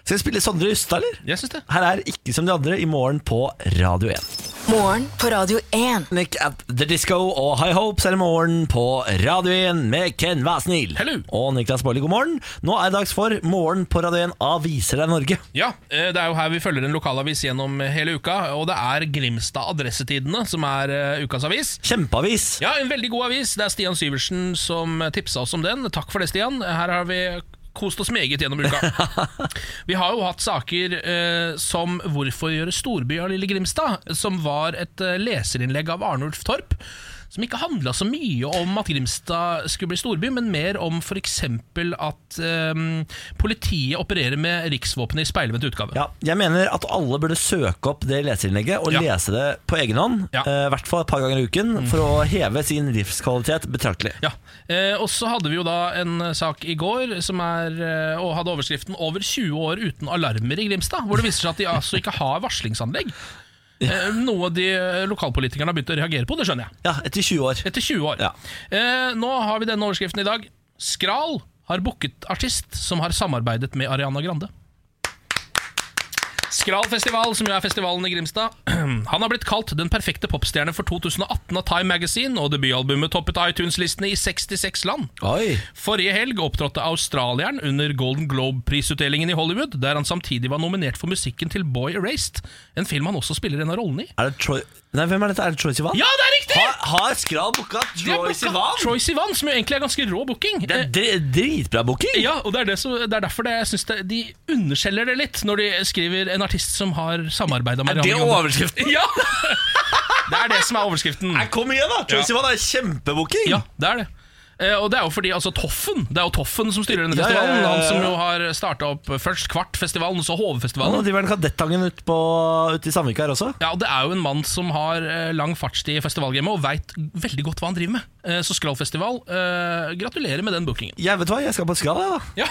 [SPEAKER 2] Skal vi spille Sondre Justad, eller?
[SPEAKER 5] Jeg syns det.
[SPEAKER 2] Her er Ikke som de andre i morgen på Radio 1.
[SPEAKER 1] Morgen på Radio 1.
[SPEAKER 2] Nick at The Disco og High Hopes er i morgen på Radio 1 med Ken Vasnil.
[SPEAKER 5] Hello.
[SPEAKER 2] Og Niklas Baarli, god morgen. Nå er det dags for Morgen på Radio 1 Aviser deg Norge.
[SPEAKER 5] Ja, eh, det er jo her vi følger en lokalavis gjennom hele uka, og det er Grimstad Adressetidene som er eh, ukas avis.
[SPEAKER 2] Kjempeavis.
[SPEAKER 5] Ja, en veldig god avis. Det er Stian Syversen som tipsa oss om den. Takk for det, Stian. Her har vi kost oss meget gjennom uka. Vi har jo hatt saker eh, som 'Hvorfor gjøre storby av lille Grimstad?', som var et eh, leserinnlegg av Arnulf Torp. Som ikke handla så mye om at Grimstad skulle bli storby, men mer om f.eks. at eh, politiet opererer med riksvåpenet i speilvendt utgave.
[SPEAKER 2] Ja, jeg mener at alle burde søke opp det leserinnlegget og
[SPEAKER 5] Ja.
[SPEAKER 2] lese det på egen hånd. eh, I
[SPEAKER 5] Ja. Mm.
[SPEAKER 2] hvert fall et par ganger i uken for å heve sin livskvalitet betraktelig.
[SPEAKER 5] Ja, eh, Og så hadde vi jo da en eh, sak i går som er, eh, og hadde overskriften 'Over 20 år uten alarmer i Grimstad'. Hvor det viser seg at de altså ikke har varslingsanlegg. Eh, noe de eh, lokalpolitikerne har begynt å reagere på, det skjønner jeg.
[SPEAKER 2] Ja, etter 20 år.
[SPEAKER 5] Etter 20 år.
[SPEAKER 2] Ja.
[SPEAKER 5] Eh, nå har vi denne overskriften i dag. 'Skral har booket artist som har samarbeidet med Ariana Grande'. Skral festival, som jo er festivalen i Grimstad. Han har blitt kalt den perfekte popstjerne for 2018 av Time Magazine, og debutalbumet toppet iTunes-listene i 66 land.
[SPEAKER 2] Oi.
[SPEAKER 5] Forrige helg opptrådte australieren under Golden Globe-prisutdelingen i Hollywood, der han samtidig var nominert for musikken til Boy Erased, en film han også spiller en av rollene i.
[SPEAKER 2] Er det Troy Nei, hvem er dette? Er det Troy Sivan?
[SPEAKER 5] Ja, det er riktig!
[SPEAKER 2] Har, har Skral booka
[SPEAKER 5] De
[SPEAKER 2] Troy
[SPEAKER 5] har booka
[SPEAKER 2] Sivan?
[SPEAKER 5] Troy Sivan, som jo egentlig er ganske rå booking.
[SPEAKER 2] Det er dri- dritbra booking!
[SPEAKER 5] Eh, Ja, og det er, det, som, det er derfor det, jeg synes det, de underskjeller det litt, når de skriver en artist som har samarbeida med
[SPEAKER 2] Er det
[SPEAKER 5] Ariana Grande.
[SPEAKER 2] overskriften?
[SPEAKER 5] Ja! Det er det som er overskriften.
[SPEAKER 2] Nei, kom igjen, da! Troy
[SPEAKER 5] Ja.
[SPEAKER 2] Sivan er kjempebooking!
[SPEAKER 5] Ja, det er det. Eh, og det er jo fordi altså, Toffen Det er jo Toffen som styrer denne
[SPEAKER 2] Ja, ja, ja, ja,
[SPEAKER 5] festivalen.
[SPEAKER 2] ja.
[SPEAKER 5] Han som jo har starta opp først Kvartfestivalen, så
[SPEAKER 2] Ja,
[SPEAKER 5] Hovefestivalen.
[SPEAKER 2] Nå driver han Kadettangen ute ut i Sandvika her også.
[SPEAKER 5] Ja, og Det er jo en mann som har eh, lang fartstid i festivalgamet og veit veldig godt hva han driver med. Eh, Så Skrallfestival, eh, gratulerer med den bookingen.
[SPEAKER 2] Jeg vet hva, jeg skal på Skral, jeg, da.
[SPEAKER 5] Ja,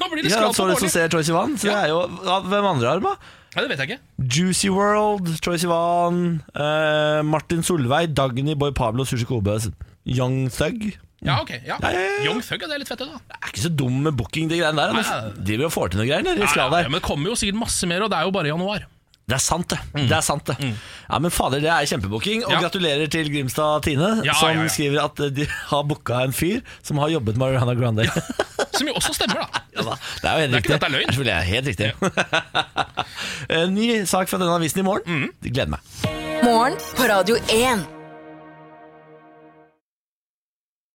[SPEAKER 5] Nå blir det
[SPEAKER 2] Jeg
[SPEAKER 5] skrall
[SPEAKER 2] så
[SPEAKER 5] på
[SPEAKER 2] det som
[SPEAKER 5] morgenen!
[SPEAKER 2] ser Troy Sivan. Så det er jo, ja, hvem andre har det, da?
[SPEAKER 5] Ja, det vet jeg ikke.
[SPEAKER 2] Juicy World, Troy Sivan, eh, Martin Solveig, Dagny, Boy Pablo, Sushi Kobe, Young Thug.
[SPEAKER 5] Ja, ok ja.
[SPEAKER 2] Ja, ja, ja.
[SPEAKER 5] Young Thug, ja, det er litt fett, det, da.
[SPEAKER 2] Det er ikke så dum med booking, de greiene der.
[SPEAKER 5] Nei,
[SPEAKER 2] De driver og får til noe greier nede i Skral
[SPEAKER 5] Ja,
[SPEAKER 2] der.
[SPEAKER 5] men det kommer jo sikkert masse mer, og det er jo bare i januar.
[SPEAKER 2] Det er sant, det. Det er sant, det. Ja, Men fader, det er kjempebooking. Og
[SPEAKER 5] Mm. Ja.
[SPEAKER 2] gratulerer til Grimstad Tine,
[SPEAKER 5] Ja,
[SPEAKER 2] som
[SPEAKER 5] ja, ja.
[SPEAKER 2] skriver at eh, de har booka en fyr som har jobbet med Ariana Grande. Ja.
[SPEAKER 5] Som jo også stemmer, da.
[SPEAKER 2] da. Det er jo helt
[SPEAKER 5] Det er ikke
[SPEAKER 2] riktig.
[SPEAKER 5] dette er løgn.
[SPEAKER 2] selvfølgelig er det helt riktig.
[SPEAKER 5] Mm.
[SPEAKER 2] Eh, Ny sak fra denne avisen i morgen. Gleder meg.
[SPEAKER 1] Morgen på Radio 1.